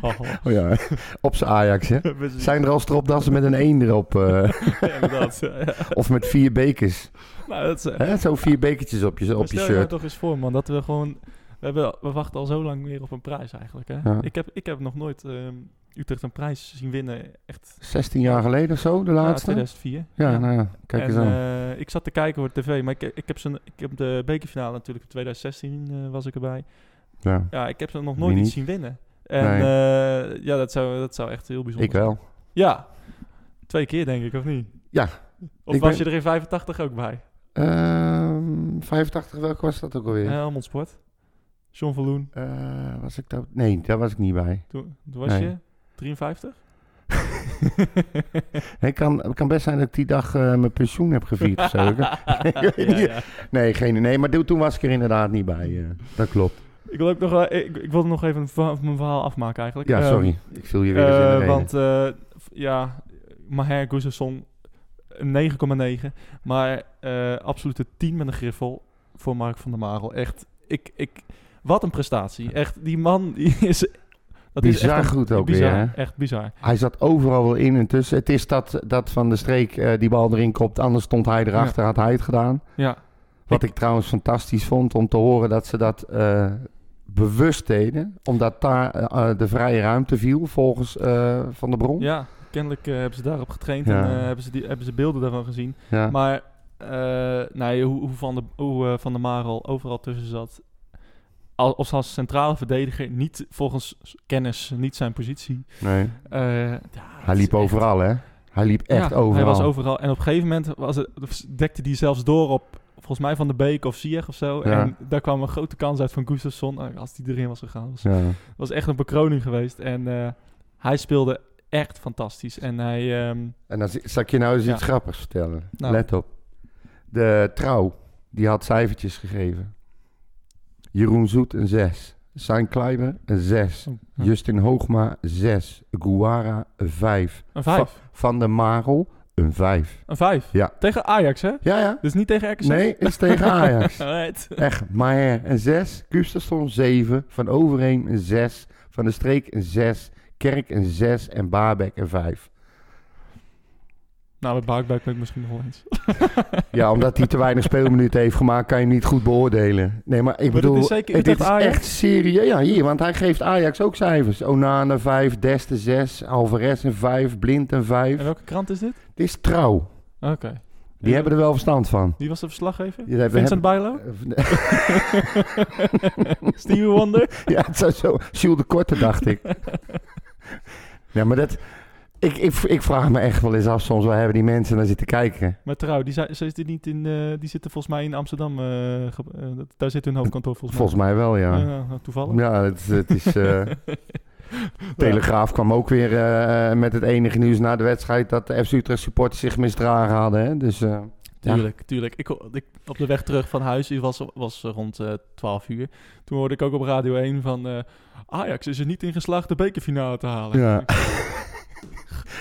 Speaker 7: Oh,
Speaker 6: Oh ja, op zijn Ajax, hè?
Speaker 7: precies.
Speaker 6: Zijn er al stropdassen met een 1 erop? eh,
Speaker 7: Ja, inderdaad. ja.
Speaker 6: of met vier bekers?
Speaker 7: Nou, dat is, eh,
Speaker 6: Hè? Zo vier bekertjes op je, op je
Speaker 7: Maar Stel je nou
Speaker 6: shirt.
Speaker 7: toch eens voor, man, dat we gewoon... We, hebben, we wachten al zo lang meer op een prijs eigenlijk, hè?
Speaker 6: Ja.
Speaker 7: Ik, heb, ik heb nog nooit ehm, Utrecht een prijs zien winnen, echt...
Speaker 6: 16 jaar geleden of zo, de
Speaker 7: na
Speaker 6: laatste? Ja,
Speaker 7: 2004.
Speaker 6: nou ja, kijk
Speaker 7: en,
Speaker 6: eens aan.
Speaker 7: eh, ik zat te kijken op tv, maar ik, ik, heb, zo'n- ik heb de bekerfinale natuurlijk in 2016 eh, was ik erbij.
Speaker 6: ja.
Speaker 7: Ja, ik heb ze nog
Speaker 6: Wie
Speaker 7: nooit
Speaker 6: niet?
Speaker 7: iets zien winnen. En
Speaker 6: Nee.
Speaker 7: eh, ja, dat zou, dat zou echt heel bijzonder
Speaker 6: Ik wel.
Speaker 7: zijn. Ja, twee keer denk ik, of niet?
Speaker 6: Ja.
Speaker 7: Of
Speaker 6: Ik
Speaker 7: was
Speaker 6: ben-
Speaker 7: je er in 85 ook bij?
Speaker 6: Ehm 85, welke was dat ook alweer?
Speaker 7: Ja, Eh, Helmond Sport. John Verloen,
Speaker 6: Eh, was ik daar? Nee, daar was ik niet bij.
Speaker 7: toen, toen was
Speaker 6: Nee.
Speaker 7: je 53?
Speaker 6: Het kan, het kan best zijn dat ik die dag eh, mijn pensioen heb gevierd of zo. Ik weet niet. Nee, geen, nee, maar toen- toen was ik er inderdaad niet bij. eh. Dat klopt.
Speaker 7: Ik, wil ook nog, wel- ik, ik wilde nog even een verhaal- mijn verhaal afmaken eigenlijk.
Speaker 6: Ja,
Speaker 7: Ehm,
Speaker 6: sorry. Ik viel je weer eens in de
Speaker 7: eh,
Speaker 6: reden.
Speaker 7: want eh, f- ja, Maher Gustafsson een 9,9. Maar eh absolute 10 met een griffel voor Mark van der Marel. Echt, ik, ik, wat een prestatie. Echt, die man die is... Dat
Speaker 6: Bizar
Speaker 7: echt
Speaker 6: goed ook
Speaker 7: bizar,
Speaker 6: weer, hè?
Speaker 7: Echt bizar.
Speaker 6: Hij zat overal wel in en tussen. Het is dat, dat Van de Streek eh, die bal erin kopt. Anders stond hij erachter, had hij het gedaan.
Speaker 7: Ja,
Speaker 6: Wat ik trouwens fantastisch vond om te horen dat ze dat eh, bewust deden. Omdat daar eh, eh, de vrije ruimte viel volgens eh, Van der Bron.
Speaker 7: ja kennelijk eh, hebben ze daarop getraind
Speaker 6: Ja.
Speaker 7: en eh, hebben, ze die, hebben ze beelden daarvan gezien.
Speaker 6: Ja.
Speaker 7: Maar eh, nee, hoe, hoe, van de, hoe eh, Van der Marel overal tussen zat. Al- Of als centrale verdediger, niet volgens s- kennis, niet zijn positie.
Speaker 6: Nee.
Speaker 7: Eh, ja,
Speaker 6: Hij
Speaker 7: het is
Speaker 6: liep overal, hè? Hij liep echt
Speaker 7: ja,
Speaker 6: overal.
Speaker 7: Hij was overal. En op een gegeven moment was het, dekte hij zelfs door op, volgens mij, Van de Beek of Sieg of zo.
Speaker 6: Ja.
Speaker 7: En daar kwam een grote kans uit van Gustafsson, eh, als die erin was gegaan. Dus
Speaker 6: Ja.
Speaker 7: het was echt een bekroning geweest. En eh, hij speelde echt fantastisch. En hij... ehm,
Speaker 6: En dan zi- zal ik je nou eens
Speaker 7: Ja.
Speaker 6: iets grappigs vertellen.
Speaker 7: Nou.
Speaker 6: Let op. De trouw, die had cijfertjes gegeven. Jeroen Zoet een 6. Sein Kleiber een 6.
Speaker 7: Oh, ja.
Speaker 6: Justin Hoogma 6. Guara een 5.
Speaker 7: een vijf.
Speaker 6: Van der Marel een 5.
Speaker 7: Een vijf.
Speaker 6: Ja.
Speaker 7: Tegen Ajax, hè?
Speaker 6: Ja, ja.
Speaker 7: Dus niet tegen RKC?
Speaker 6: Nee, het is tegen Ajax.
Speaker 7: Alright.
Speaker 6: Echt, Maher een 6. Gustafsson 7. Van Overheem een 6. Van de Streek een 6. Kerk een 6. En Baarbek een 5.
Speaker 7: Nou, met Baakbuik ben ik misschien nog wel eens.
Speaker 6: Ja, omdat hij te weinig speelminuten heeft gemaakt, kan je hem niet goed beoordelen. Nee, maar ik
Speaker 7: dit
Speaker 6: bedoel,
Speaker 7: is zeker
Speaker 6: het is
Speaker 7: Utrecht-Ajax.
Speaker 6: echt serieus. Ja, hier, want hij geeft Ajax ook cijfers. Onana 5, Deste 6, Alvarez een 5, Blind een 5.
Speaker 7: En
Speaker 6: Het
Speaker 7: welke krant is dit?
Speaker 6: is trouw.
Speaker 7: Oké.
Speaker 6: Die hebben er wel verstand van.
Speaker 7: Wie was de verslaggever?
Speaker 6: Die hebben-
Speaker 7: Vincent Bijlo? Stevie Wonder?
Speaker 6: Ja, het zou zo. Jules de Korte, dacht ik. Ja, maar dat... Ik, ik, ik vraag me echt wel eens af soms, waar hebben die mensen naar zitten kijken?
Speaker 7: Maar trouw, die, zijn, zijn die, niet in, eh, die zitten volgens mij in Amsterdam. eh, ge- eh, dat- daar zit hun hoofdkantoor volgens mij.
Speaker 6: Volgens mij wel, ja.
Speaker 7: Ja, nou, toevallig.
Speaker 6: Ja, het, het is. eh, Telegraaf kwam ook weer eh, met het enige nieuws na de wedstrijd dat de FC Utrecht supporters zich misdragen hadden. Hè? Dus eh, Ja.
Speaker 7: Tuurlijk, tuurlijk. Ik, ho- ik, op de weg terug van huis, die was, was rond eh 12 uur. Toen hoorde ik ook op Radio 1 van... eh, Ajax is er niet in geslaagd de bekerfinale te halen.
Speaker 6: Ja.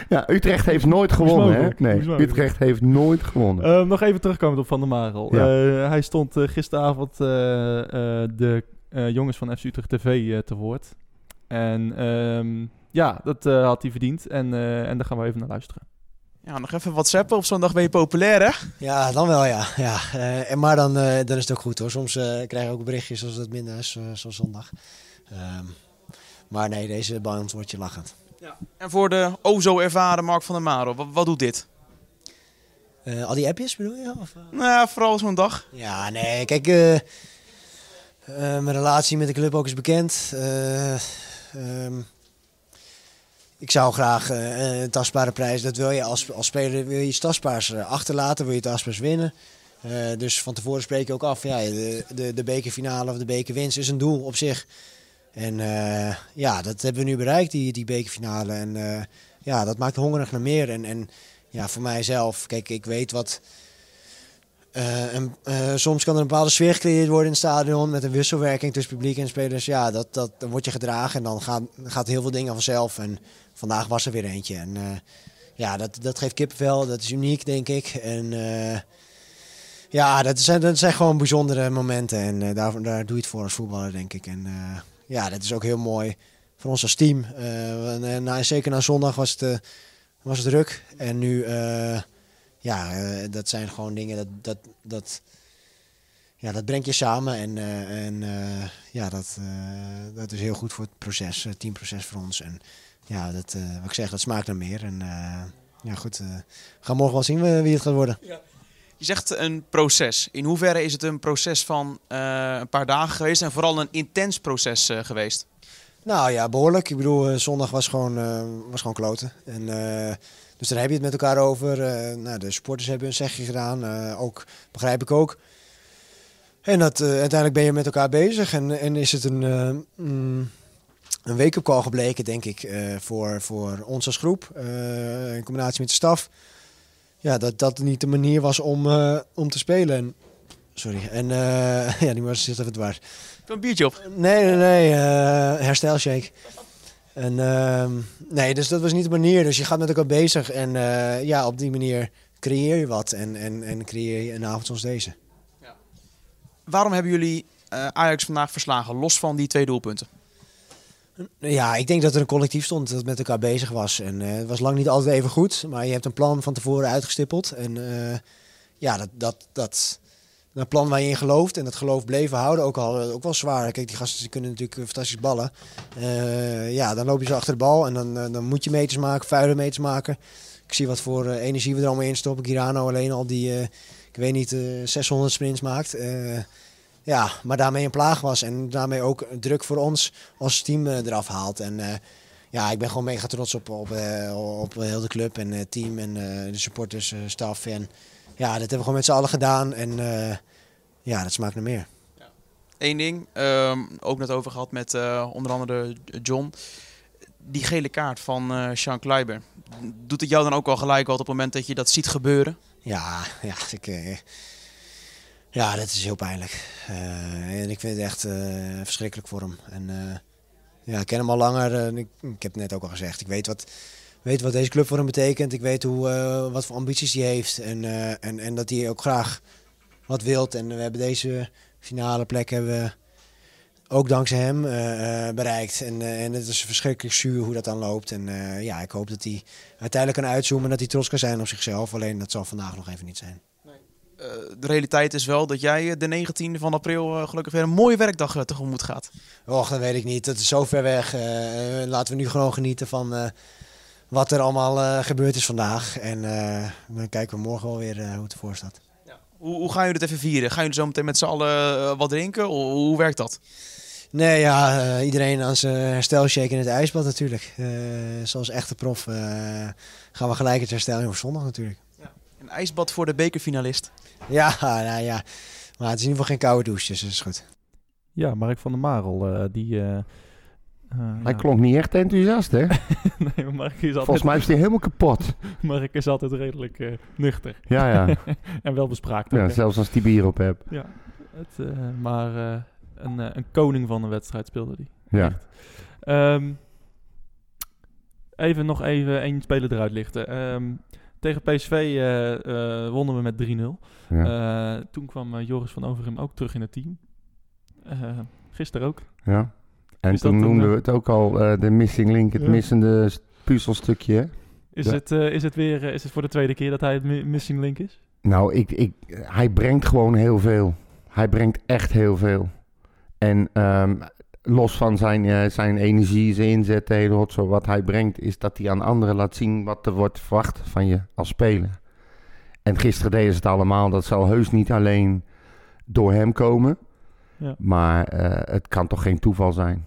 Speaker 6: ja, Utrecht heeft nooit gewonnen. Hè?
Speaker 7: mogelijk,
Speaker 6: Nee,
Speaker 7: is mogelijk.
Speaker 6: Utrecht heeft nooit gewonnen.
Speaker 7: Eh, nog even terugkomend op Van der Marel.
Speaker 6: Ja.
Speaker 7: Eh, hij stond eh, gisteravond eh, eh, de eh, jongens van FC Utrecht TV eh, te woord. En ehm, ja, dat eh, had hij verdiend. En, eh, en daar gaan we even naar luisteren.
Speaker 8: Ja, nog even WhatsAppen. Op zondag ben je populair, hè?
Speaker 9: Ja, dan wel ja. ja. Eh, en maar dan, eh, dan is het ook goed hoor. Soms eh krijg ik ook berichtjes als het minder is, eh, zoals zondag. Ehm, maar nee, deze bij ons wordt je lachend.
Speaker 8: En voor de o zo ervaren Mark van der Maro, wat, wat doet dit?
Speaker 9: Eh, al die appjes bedoel je? Of, eh?
Speaker 8: Nou, vooral zo'n dag.
Speaker 9: Ja, nee, kijk, eh, eh, mijn relatie met de club ook is bekend. Eh, ehm, ik zou graag eh, een tastbare prijs, dat wil je als, als speler, wil je iets tastbaars eh, achterlaten, wil je tastbaars winnen. Eh, dus van tevoren spreek je ook af, ja, de, de, de bekerfinale of de bekerwinst is een doel op zich. En eh, ja, dat hebben we nu bereikt, die, die bekerfinale. En eh, ja, dat maakt hongerig naar meer. En, en ja, voor mijzelf, kijk, ik weet wat, eh, en, eh, soms kan er een bepaalde sfeer gecreëerd worden in het stadion met een wisselwerking tussen publiek en spelers. Ja, dat, dat, dan word je gedragen en dan gaan, gaat heel veel dingen vanzelf. En vandaag was er weer eentje. En eh, ja, dat, dat geeft kippenvel, dat is uniek denk ik. En eh, ja, dat zijn, dat zijn gewoon bijzondere momenten en eh, daar, daar doe je het voor als voetballer denk ik. En eh, ja, dat is ook heel mooi voor ons als team. Eh, en, eh, na, zeker na zondag was het, eh, was het druk en nu... eh, ja, eh, dat zijn gewoon dingen dat, dat, dat, ja, dat brengt je samen. En, eh, en eh, ja, dat, eh, dat is heel goed voor het proces, het teamproces voor ons. En ja, dat, eh, wat ik zeg, dat smaakt naar meer. En eh, ja, goed, eh, we gaan morgen wel zien eh, wie het gaat worden.
Speaker 8: Je zegt een proces. In hoeverre is het een proces van eh, een paar dagen geweest en vooral een intens proces eh, geweest?
Speaker 9: Nou ja, behoorlijk. Ik bedoel, eh, zondag was gewoon, eh, was gewoon kloten. En, eh, dus daar heb je het met elkaar over. Eh, nou, de supporters hebben hun zegje gedaan. eh, ook, begrijp ik ook. En dat, eh, uiteindelijk ben je met elkaar bezig. En, en is het een, eh, mm, een wake-up call gebleken, denk ik, eh, voor, voor ons als groep. eh, in combinatie met de staf. Ja, dat dat niet de manier was om, eh, om te spelen. En, sorry. En eh, ja, die was zit even dwars.
Speaker 8: Heb je een biertje op?
Speaker 9: Nee, nee, nee. eh, herstelshake. En, ehm, nee, dus dat was niet de manier. Dus je gaat met elkaar bezig. En eh, ja, op die manier creëer je wat. En, en, en creëer je een avond zoals deze.
Speaker 8: Waarom hebben jullie eh, Ajax vandaag verslagen, los van die twee doelpunten?
Speaker 9: Ja, ik denk dat er een collectief stond dat met elkaar bezig was. En eh, het was lang niet altijd even goed, maar je hebt een plan van tevoren uitgestippeld. En eh, ja, dat, dat, dat, een plan waar je in gelooft en dat geloof bleven houden, ook al eh, ook wel zwaar. Kijk, die gasten die kunnen natuurlijk eh, fantastisch ballen. Eh, ja, dan loop je ze achter de bal en dan, eh, dan moet je meters maken, vuile meters maken. Ik zie wat voor eh, energie we er allemaal in stoppen. Girano alleen al die, eh, ik weet niet, eh, 600 sprints maakt. Eh, ja, maar daarmee een plaag was en daarmee ook druk voor ons als team eh, eraf haalt. En eh, ja, ik ben gewoon mega trots op, op, eh, op heel de club en het team en eh, de supporters, eh, staf. En ja, dat hebben we gewoon met z'n allen gedaan. En eh, ja, dat smaakt naar meer.
Speaker 8: Eén ding, ehm, ook net over gehad met eh, onder andere John. Die gele kaart van eh Sean Kleiber. Doet het jou dan ook al gelijk wat op het moment dat je dat ziet gebeuren?
Speaker 9: Ja, ja, ik, eh, ja dat is heel pijnlijk. Eh, en ik vind het echt eh, verschrikkelijk voor hem. En, eh, ja, ik ken hem al langer. en ik, ik heb het net ook al gezegd. Ik weet wat, weet wat deze club voor hem betekent. Ik weet hoe, eh, wat voor ambities hij heeft. En, eh, en, en dat hij ook graag wat wilt. En we hebben deze finale plek hebben we ook dankzij hem eh, eh, bereikt. En, eh, en het is verschrikkelijk zuur hoe dat dan loopt. En eh, ja, ik hoop dat hij uiteindelijk kan uitzoomen en dat hij trots kan zijn op zichzelf. Alleen dat zal vandaag nog even niet zijn.
Speaker 8: Eh, de realiteit is wel dat jij eh, de 19e van april eh, gelukkig weer een mooie werkdag eh, tegemoet gaat.
Speaker 9: Och, dat weet ik niet. Dat is zo ver weg. Eh, eh, laten we nu gewoon genieten van eh, wat er allemaal eh, gebeurd is vandaag. En eh, dan kijken we morgen wel weer eh, hoe het ervoor staat.
Speaker 8: Hoe, hoe gaan jullie het even vieren? Gaan jullie zo meteen met z'n allen eh, wat drinken? Hoe, hoe werkt dat?
Speaker 9: Nee, ja, eh, iedereen aan zijn herstelshake in het ijsbad natuurlijk. Eh, zoals echte prof eh, gaan we gelijk het herstellen op zondag natuurlijk.
Speaker 8: Een ijsbad voor de bekerfinalist.
Speaker 9: Ja, nou ja. Maar het is in ieder geval geen koude douche, dus dat is goed.
Speaker 7: Ja, Mark van der Marel, eh, die... eh, eh,
Speaker 6: Hij
Speaker 7: ja.
Speaker 6: klonk niet echt enthousiast, hè?
Speaker 7: Nee, maar Mark is altijd,
Speaker 6: Volgens mij is hij helemaal kapot.
Speaker 7: Mark is altijd redelijk eh, nuchter.
Speaker 6: Ja, ja.
Speaker 7: en wel bespraakt. ook,
Speaker 6: ja
Speaker 7: hè.
Speaker 6: zelfs als hij bier op hebt.
Speaker 7: Ja, het, eh, maar eh, een, eh, een koning van de wedstrijd speelde die.
Speaker 6: Ja.
Speaker 7: Ehm, even nog even één speler eruit lichten. Ehm, tegen PSV eh, eh, wonnen we met 3-0.
Speaker 6: ja.
Speaker 7: Eh, toen kwam eh, Joris van Overhem ook terug in het team. Eh, gisteren ook.
Speaker 6: Ja. En
Speaker 7: Is dat
Speaker 6: toen
Speaker 7: dan,
Speaker 6: noemden
Speaker 7: eh,
Speaker 6: we het ook al eh, de missing link, het
Speaker 7: Ja.
Speaker 6: missende s- puzzelstukje. hè?
Speaker 7: Is,
Speaker 6: Ja.
Speaker 7: het, eh, is het weer eh, is het voor de tweede keer dat hij het mi- missing link is?
Speaker 6: Nou, ik, ik, hij brengt gewoon heel veel. Hij brengt echt heel veel. En ehm, los van zijn, eh, zijn energie, zijn inzet, de hele rotzooi, wat hij brengt, is dat hij aan anderen laat zien wat er wordt verwacht van je als speler. En gisteren deden ze het allemaal. Dat zal heus niet alleen door hem komen.
Speaker 7: Ja.
Speaker 6: Maar eh, het kan toch geen toeval zijn.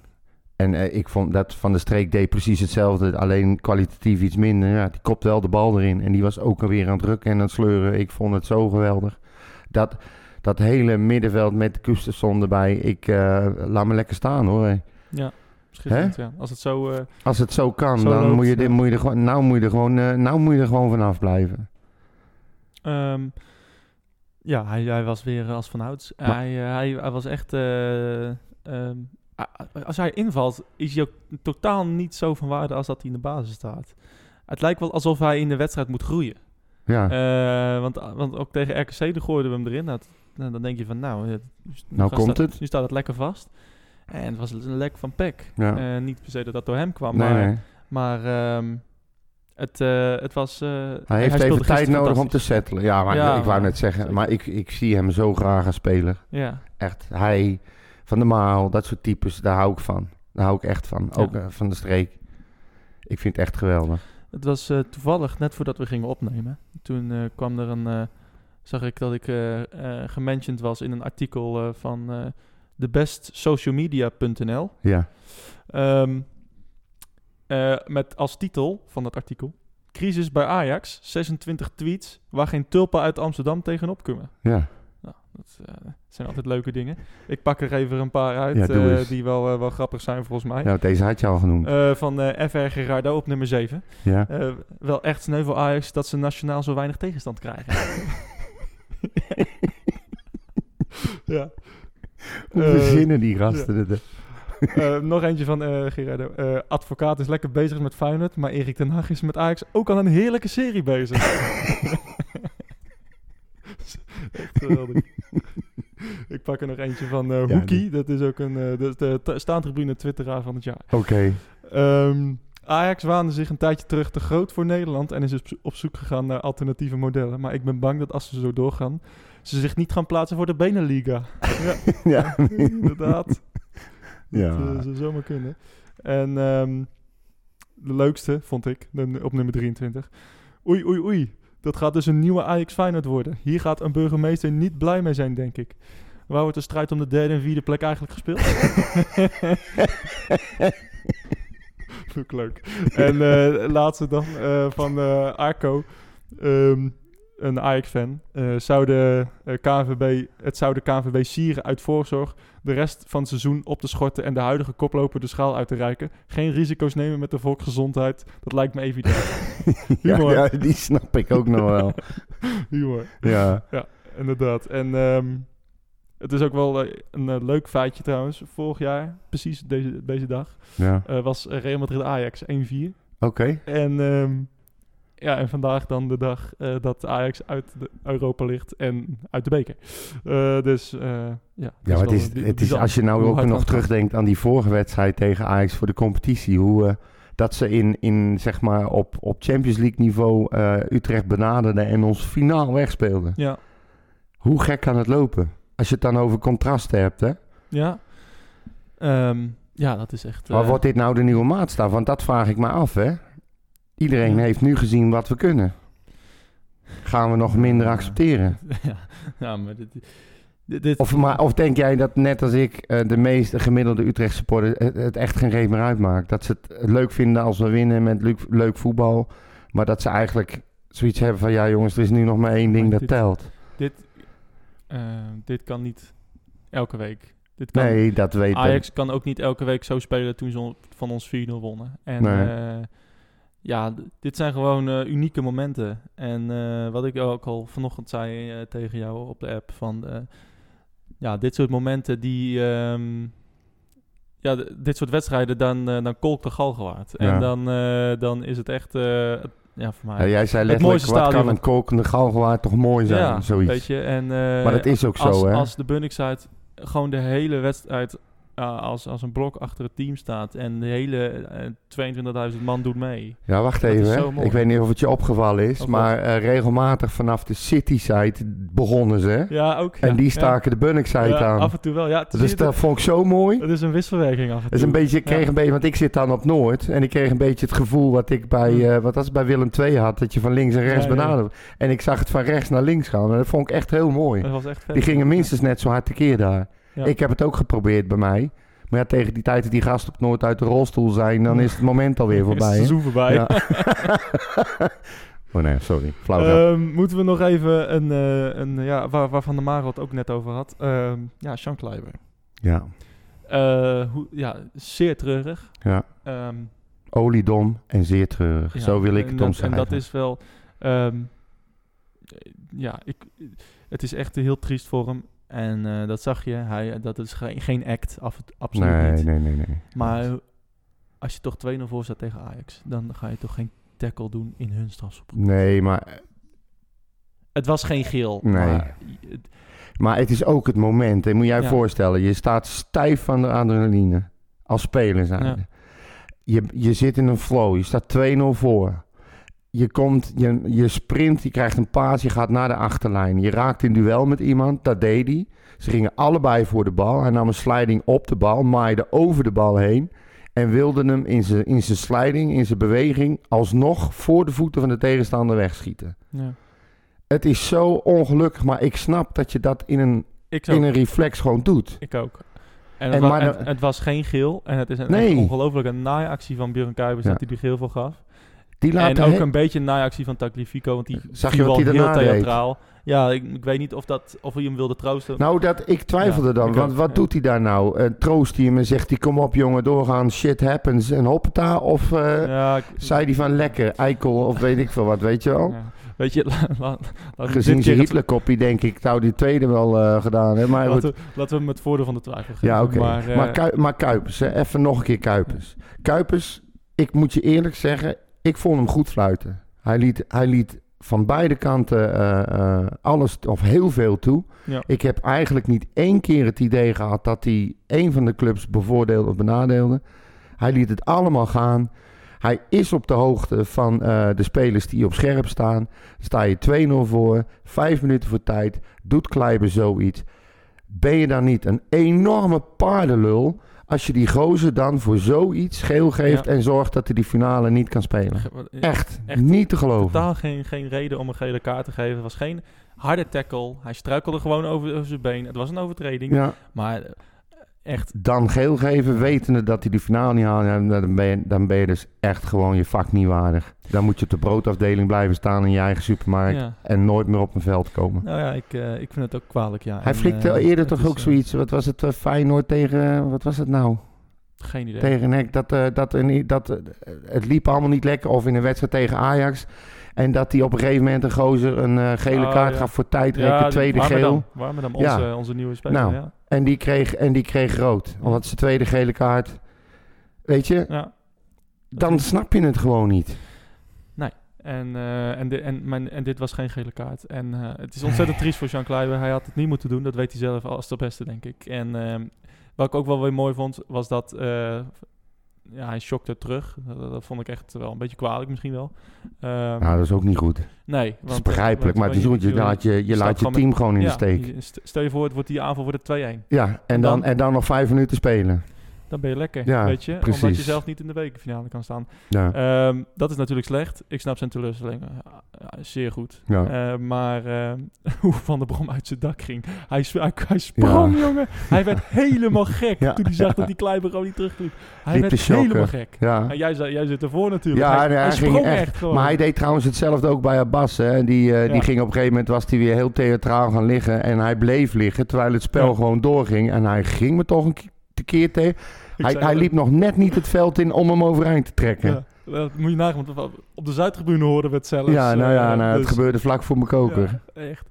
Speaker 6: En eh, ik vond dat Van de Streek deed precies hetzelfde. Alleen kwalitatief iets minder. Ja, die kopt wel de bal erin. En die was ook alweer aan het rukken en aan het sleuren. Ik vond het zo geweldig. Dat, dat hele middenveld met Gustafsson erbij. Ik eh, laat me lekker staan hoor. hé.
Speaker 7: Schitterend, ja. Als het zo... eh,
Speaker 6: Als het zo kan,
Speaker 7: Zo
Speaker 6: dan
Speaker 7: loopt,
Speaker 6: moet je, dit,
Speaker 7: ja.
Speaker 6: moet je er gewoon, nou moet je er gewoon, eh, nou moet je er gewoon vanaf blijven.
Speaker 7: Ehm, ja, hij, hij was weer eh, als van ouds.
Speaker 6: Maar-
Speaker 7: Hij, eh, hij, hij was echt. eh, ehm, a- a- als hij invalt, is hij ook totaal niet zo van waarde als dat hij in de basis staat. Het lijkt wel alsof hij in de wedstrijd moet groeien.
Speaker 6: Ja.
Speaker 7: Eh, want, want ook tegen RKC dan gooiden we hem erin. Nou, t- nou, dan denk je van, nou, het-
Speaker 6: Nou
Speaker 7: gaat-
Speaker 6: komt
Speaker 7: staat-
Speaker 6: het.
Speaker 7: Nu staat het lekker vast. En het was een lek van pek.
Speaker 6: Ja.
Speaker 7: Eh, niet per se dat dat door hem kwam,
Speaker 6: nee,
Speaker 7: maar,
Speaker 6: nee.
Speaker 7: maar ehm, het, eh, het was. eh,
Speaker 6: Hij heeft
Speaker 7: speelde
Speaker 6: even tijd
Speaker 7: gisteren
Speaker 6: nodig om te
Speaker 7: fantastisch.
Speaker 6: settelen. Ja, maar
Speaker 7: Ja,
Speaker 6: ik wou
Speaker 7: maar-
Speaker 6: net zeggen,
Speaker 7: zeker.
Speaker 6: maar ik, ik zie hem zo graag als speler.
Speaker 7: Ja.
Speaker 6: Echt, hij, Van de Maal, dat soort types, daar hou ik van. Daar hou ik echt van. Ook eh, van de streek. Ik vind het echt geweldig.
Speaker 7: Het was eh, toevallig net voordat we gingen opnemen. Toen eh, kwam er een. eh, zag ik dat ik eh eh, gementiond was in een artikel eh, van eh thebestsocialmedia.nl.
Speaker 6: Ja,
Speaker 7: Ehm, eh, met als titel van dat artikel: Crisis bij Ajax. 26 tweets waar geen tulpen uit Amsterdam tegenop kunnen.
Speaker 6: ja.
Speaker 7: Dat eh, zijn altijd leuke dingen. Ik pak er even een paar uit
Speaker 6: Ja, doe
Speaker 7: eh,
Speaker 6: eens.
Speaker 7: die wel, eh, wel grappig zijn volgens mij.
Speaker 6: ja want Nou, deze had je al genoemd.
Speaker 7: Eh, van eh, FR Gerardo op nummer 7.
Speaker 6: ja.
Speaker 7: Eh, wel echt sneu voor Ajax dat ze nationaal zo weinig tegenstand krijgen. ja.
Speaker 6: Hoe
Speaker 7: eh,
Speaker 6: verzinnen die gasten het?
Speaker 7: Eh, nog eentje van eh Gerardo. Eh, advocaat is lekker bezig met Feyenoord, maar Erik ten Hag is met Ajax ook al een heerlijke serie bezig. echt geweldig. Ik pak er nog eentje van eh
Speaker 6: Ja,
Speaker 7: Hoekie.
Speaker 6: die-
Speaker 7: Dat is ook een, eh, dat is de t- staantribune twitteraar van het jaar.
Speaker 6: Oké.
Speaker 7: Ehm, Ajax waande zich een tijdje terug te groot voor Nederland en is op zo- op zoek gegaan naar alternatieve modellen. Maar ik ben bang dat als ze zo doorgaan, ze zich niet gaan plaatsen voor de Beneliga. ja,
Speaker 6: Ja.
Speaker 7: inderdaad.
Speaker 6: Ja.
Speaker 7: Dat eh, zou zomaar kunnen. En ehm, de leukste, vond ik, de- op nummer 23. Oei, oei, oei. Dat gaat dus een nieuwe Ajax Feyenoord worden. Hier gaat een burgemeester niet blij mee zijn, denk ik. Waar wordt de strijd om de derde en vierde plek eigenlijk gespeeld? Ook leuk. En eh, laatste dan eh, van eh, Arco. Ehm, een Ajax-fan. Eh, zou de, eh, KNVB, het zou de KNVB sieren uit voorzorg de rest van het seizoen op te schorten en de huidige koploper de schaal uit te reiken. Geen risico's nemen met de volksgezondheid. Dat lijkt me evident.
Speaker 6: Ja,
Speaker 7: Humor.
Speaker 6: ja, die snap ik ook nog wel.
Speaker 7: Humor.
Speaker 6: Ja.
Speaker 7: Inderdaad. En ehm, het is ook wel eh, een eh, leuk feitje trouwens. Vorig jaar, precies deze, deze dag,
Speaker 6: ja.
Speaker 7: eh, was Real Madrid-Ajax 1-4.
Speaker 6: Oké.
Speaker 7: En, ehm, ja, en vandaag dan de dag eh, dat Ajax uit de Europa ligt en uit de beker. Eh, dus eh, ja.
Speaker 6: Ja, maar het is, het is, als je nou ook nog terugdenkt aan die vorige wedstrijd tegen Ajax voor de competitie, hoe eh, dat ze in, in, zeg maar op, op Champions League niveau eh, Utrecht benaderden en ons finaal wegspeelden.
Speaker 7: Ja,
Speaker 6: Hoe gek kan het lopen? Als je het dan over contrasten hebt, hè?
Speaker 7: ja. Ehm, ja, dat is echt...
Speaker 6: Maar
Speaker 7: eh,
Speaker 6: wordt dit nou de nieuwe maatstaf? Want dat vraag ik me af, hè? Iedereen
Speaker 7: Ja.
Speaker 6: heeft nu gezien wat we kunnen. Gaan we nog minder accepteren?
Speaker 7: ja, ja, nou, maar dit, Dit, dit-
Speaker 6: Of, maar, of denk jij dat net als ik eh, de meeste gemiddelde Utrechtse supporter het, het echt geen reet meer uitmaakt? Dat ze het eh, leuk vinden als we winnen met leuk, leuk voetbal. Maar dat ze eigenlijk zoiets hebben van ja jongens, er is nu nog maar één ding
Speaker 7: Maar
Speaker 6: dat
Speaker 7: dit-
Speaker 6: telt.
Speaker 7: dit, eh, dit kan niet elke week. Dit kan,
Speaker 6: Nee, dat weet ik.
Speaker 7: Ajax kan ook niet elke week zo spelen toen ze on- van ons 4-0 wonnen. En
Speaker 6: Nee.
Speaker 7: eh, ja, d- dit zijn gewoon eh, unieke momenten. En eh, wat ik ook al vanochtend zei eh, tegen jou op de app, van eh, ja, dit soort momenten die... ehm, ja, d- dit soort wedstrijden, dan, eh, dan kolkt de gal gewaard.
Speaker 6: Ja.
Speaker 7: En dan, eh, dan is het echt... eh, het- ja, voor mij...
Speaker 6: Ja, jij zei letterlijk,
Speaker 7: mooiste
Speaker 6: wat kan
Speaker 7: stadion.
Speaker 6: een kokende galgenwaard toch mooi zijn,
Speaker 7: ja,
Speaker 6: zoiets.
Speaker 7: weet je. En, eh,
Speaker 6: Maar dat is ook zo,
Speaker 7: als,
Speaker 6: hè?
Speaker 7: Als de Bunningside gewoon de hele wedstrijd eh, als, als een blok achter het team staat en de hele eh, 22.000 man doet mee.
Speaker 6: Ja, wacht
Speaker 7: Dat is
Speaker 6: even.
Speaker 7: zo
Speaker 6: hè.
Speaker 7: mooi.
Speaker 6: Ik weet niet of het je opgevallen is,
Speaker 7: Of
Speaker 6: maar eh, regelmatig vanaf de city-side begonnen ze. hè?
Speaker 7: Ja, ook.
Speaker 6: en
Speaker 7: ja,
Speaker 6: die
Speaker 7: ja.
Speaker 6: staken de bunnickside
Speaker 7: Ja,
Speaker 6: aan.
Speaker 7: Af en toe wel, ja. het zie
Speaker 6: Dus
Speaker 7: je
Speaker 6: dat vond ik zo mooi.
Speaker 7: dat- het is een wisselwerking af en toe.
Speaker 6: Dat is een beetje, ik kreeg
Speaker 7: Ja.
Speaker 6: een beetje, want ik zit dan op Noord. En ik kreeg een beetje het gevoel wat ik bij,
Speaker 7: Hmm.
Speaker 6: eh, wat als ik bij Willem II had. Dat je van links en rechts
Speaker 7: Ja, ja.
Speaker 6: benaderd. En ik zag het van rechts naar links gaan. En dat vond ik echt heel mooi.
Speaker 7: Dat was echt vet.
Speaker 6: Die gingen minstens net zo hard tekeer daar.
Speaker 7: Ja.
Speaker 6: Ik heb het ook geprobeerd bij mij. Maar ja, tegen die tijd dat die gasten op Noord uit de rolstoel zijn, dan is het moment alweer
Speaker 7: Is het
Speaker 6: voorbij. hè?
Speaker 7: seizoen voorbij.
Speaker 6: Ja. oh nee, sorry. Flauw. grap.
Speaker 7: Ehm, moeten we nog even een, eh, een ja, waar, waar Van der Marel het ook net over had. Ehm, ja, Sean Kleiber.
Speaker 6: ja.
Speaker 7: Eh, hoe, ja, zeer treurig.
Speaker 6: Ja.
Speaker 7: Ehm,
Speaker 6: Oliedom en zeer treurig.
Speaker 7: Ja,
Speaker 6: Zo wil ik
Speaker 7: en
Speaker 6: het
Speaker 7: dat-
Speaker 6: omschrijven.
Speaker 7: En dat is wel... ehm, eh, ja, ik, het is echt heel triest voor hem. En eh, dat zag je. Hij, dat is geen, geen act, af, absoluut
Speaker 6: nee,
Speaker 7: niet.
Speaker 6: nee, nee, nee.
Speaker 7: Maar als je toch 2-0 voor staat tegen Ajax... dan ga je toch geen tackle doen in hun strafschopgebied.
Speaker 6: Nee, maar,
Speaker 7: Het was geen geel.
Speaker 6: Nee.
Speaker 7: Maar, het-
Speaker 6: maar het is ook het moment. En moet jij
Speaker 7: Ja.
Speaker 6: voorstellen, je staat stijf van de adrenaline. Als speler zijn.
Speaker 7: Ja.
Speaker 6: Je, je zit in een flow. Je staat 2-0 voor. Je komt, je, je sprint, je krijgt een paas, je gaat naar de achterlijn. Je raakt in duel met iemand, dat deed hij. Ze gingen allebei voor de bal. Hij nam een sliding op de bal, maaide over de bal heen. En wilde hem in zijn in zijn sliding, in zijn beweging, alsnog voor de voeten van de tegenstander wegschieten.
Speaker 7: ja.
Speaker 6: Het is zo ongelukkig, maar ik snap dat je dat in een,
Speaker 7: Ik, ook,
Speaker 6: in een reflex gewoon doet.
Speaker 7: ik ook. En,
Speaker 6: En
Speaker 7: het, wa-
Speaker 6: maar
Speaker 7: en
Speaker 6: dan-
Speaker 7: het was geen geel. En het is een
Speaker 6: Nee.
Speaker 7: echt ongelofelijke naaiactie van Björn Kuipers...
Speaker 6: Ja.
Speaker 7: dat hij die geel voor gaf.
Speaker 6: Die laat
Speaker 7: en
Speaker 6: de
Speaker 7: ook
Speaker 6: he-
Speaker 7: een beetje een naaiactie van Taglifico, want die
Speaker 6: Zag je
Speaker 7: viel
Speaker 6: wat
Speaker 7: wel
Speaker 6: hij
Speaker 7: heel
Speaker 6: daarna deed?
Speaker 7: theatraal. Ja, ik, ik weet niet of, dat, of hij hem wilde troosten.
Speaker 6: Nou, dat, ik twijfelde
Speaker 7: Ja,
Speaker 6: dan.
Speaker 7: ik
Speaker 6: Want
Speaker 7: ook,
Speaker 6: wat
Speaker 7: ja.
Speaker 6: doet hij daar nou? Eh, troost hij hem en zegt hij: Kom op, jongen, doorgaan. Shit happens en hoppata. Of eh,
Speaker 7: ja, ik-
Speaker 6: zei hij van lekker, eikel of weet ik veel wat, weet je wel?
Speaker 7: ja. Weet je, la- la- laten we
Speaker 6: Gezien
Speaker 7: dit
Speaker 6: zijn
Speaker 7: keer het-
Speaker 6: Hitlerkopie, denk ik, zou die tweede wel eh, gedaan hebben. Maar goed.
Speaker 7: laten, we- laten we hem het voordeel van de twijfel geven.
Speaker 6: Ja, oké. Maar,
Speaker 7: eh,
Speaker 6: Kui- maar Kuipers, hè. even nog een keer Kuipers. Kuipers, ik moet je eerlijk zeggen, ik vond hem goed fluiten. Hij liet, hij liet van beide kanten eh, eh, alles, of heel veel toe.
Speaker 7: Ja.
Speaker 6: Ik heb eigenlijk niet één keer het idee gehad dat hij één van de clubs bevoordeelde of benadeelde. Hij liet het allemaal gaan. Hij is op de hoogte van eh, de spelers die op scherp staan. Sta je 2-0 voor, vijf minuten voor tijd, doet Kleiber zoiets. Ben je dan niet een enorme paardenlul als je die gozer dan voor zoiets geel geeft
Speaker 7: Ja.
Speaker 6: en zorgt dat hij die finale niet kan spelen?
Speaker 7: eh,
Speaker 6: Echt,
Speaker 7: Echt
Speaker 6: niet te geloven.
Speaker 7: Totaal geen, geen reden om een gele kaart te geven. Het was geen harde tackle. Hij struikelde gewoon over, over zijn been. Het was een overtreding.
Speaker 6: Ja,
Speaker 7: Maar eh, echt,
Speaker 6: dan geel geven, wetende dat hij die finale niet haalt, ja, dan ben, je, dan ben je dus echt gewoon je vak niet waardig. Dan moet je op de broodafdeling blijven staan in je eigen supermarkt
Speaker 7: ja.
Speaker 6: en nooit meer op een veld komen.
Speaker 7: Nou ja, ik, eh, ik vind het ook kwalijk, ja.
Speaker 6: Hij
Speaker 7: En,
Speaker 6: flikte
Speaker 7: eh,
Speaker 6: eerder
Speaker 7: het
Speaker 6: toch
Speaker 7: is,
Speaker 6: ook
Speaker 7: eh,
Speaker 6: zoiets, wat was het, eh, Feyenoord tegen, eh, wat was het nou?
Speaker 7: Geen idee.
Speaker 6: tegen Henk. Dat, eh, dat, een- dat, eh, het liep allemaal niet lekker. Of in een wedstrijd tegen Ajax. En dat hij op een gegeven moment een gozer een eh, gele
Speaker 7: Oh,
Speaker 6: kaart
Speaker 7: ja.
Speaker 6: gaf voor tijdrekken.
Speaker 7: die-
Speaker 6: tweede
Speaker 7: Warmerdam.
Speaker 6: geel.
Speaker 7: Warmerdam,
Speaker 6: Ja.
Speaker 7: onze, onze nieuwe speler,
Speaker 6: Nou.
Speaker 7: ja.
Speaker 6: En die, kreeg, en die kreeg rood. Omdat ze tweede gele kaart... Weet je,
Speaker 7: ja.
Speaker 6: dan snap je het gewoon niet.
Speaker 7: En, eh, en, di- en, mijn, en dit was geen gele kaart. En eh, het is ontzettend triest voor Jean Kluiber. Hij had het niet moeten doen. Dat weet hij zelf als de beste, denk ik. En ehm, wat ik ook wel weer mooi vond, was dat... eh, ja, hij shockte terug. Dat, dat vond ik echt wel een beetje kwalijk misschien wel. Ehm,
Speaker 6: Nou, dat is ook niet goed.
Speaker 7: nee. Want, eh,
Speaker 6: Dat is begrijpelijk. Maar het is goed, je laat je, je,
Speaker 7: staat
Speaker 6: laat je
Speaker 7: gewoon met-
Speaker 6: team gewoon in de
Speaker 7: ja,
Speaker 6: steek.
Speaker 7: je- st- Stel je voor, het wordt die aanval wordt het 2-1.
Speaker 6: Ja, en dan,
Speaker 7: dan-
Speaker 6: en dan nog vijf minuten spelen.
Speaker 7: dan ben je lekker,
Speaker 6: Ja,
Speaker 7: weet je. Omdat je
Speaker 6: precies.
Speaker 7: zelf niet in de bekerfinale kan staan.
Speaker 6: Ja.
Speaker 7: Ehm, dat is natuurlijk slecht. Ik snap zijn teleurstelling eh, eh, zeer goed.
Speaker 6: Ja.
Speaker 7: Eh, maar ehm, hoe Van der Brom uit zijn dak ging. Hij, sp- hij, hij sprong,
Speaker 6: Ja.
Speaker 7: jongen. Hij werd helemaal gek
Speaker 6: Ja,
Speaker 7: toen hij zag
Speaker 6: ja.
Speaker 7: dat die Kleiber gewoon niet terugliep. Hij
Speaker 6: Liep te
Speaker 7: werd
Speaker 6: shocken.
Speaker 7: helemaal gek.
Speaker 6: Ja.
Speaker 7: En jij, za- jij zit ervoor natuurlijk.
Speaker 6: Ja,
Speaker 7: hij,
Speaker 6: nee,
Speaker 7: hij
Speaker 6: hij
Speaker 7: sprong
Speaker 6: ging echt.
Speaker 7: gewoon.
Speaker 6: Maar hij deed trouwens hetzelfde ook bij Abbas. Hè. En Die, eh,
Speaker 7: Ja.
Speaker 6: die ging op een gegeven moment was hij weer heel theatraal gaan liggen. En hij bleef liggen terwijl het spel
Speaker 7: Ja.
Speaker 6: gewoon doorging. En hij ging me toch een ke- tekeer tegen. Hij,
Speaker 7: zei
Speaker 6: hij
Speaker 7: dat-
Speaker 6: liep nog net niet het veld in om hem overeind te trekken.
Speaker 7: Ja, dat moet je nagaan, want op de Zuidtribune hoorden we het zelfs.
Speaker 6: Ja, nou ja,
Speaker 7: eh,
Speaker 6: nou,
Speaker 7: dus-
Speaker 6: het gebeurde vlak voor mijn koker.
Speaker 7: Ja, echt.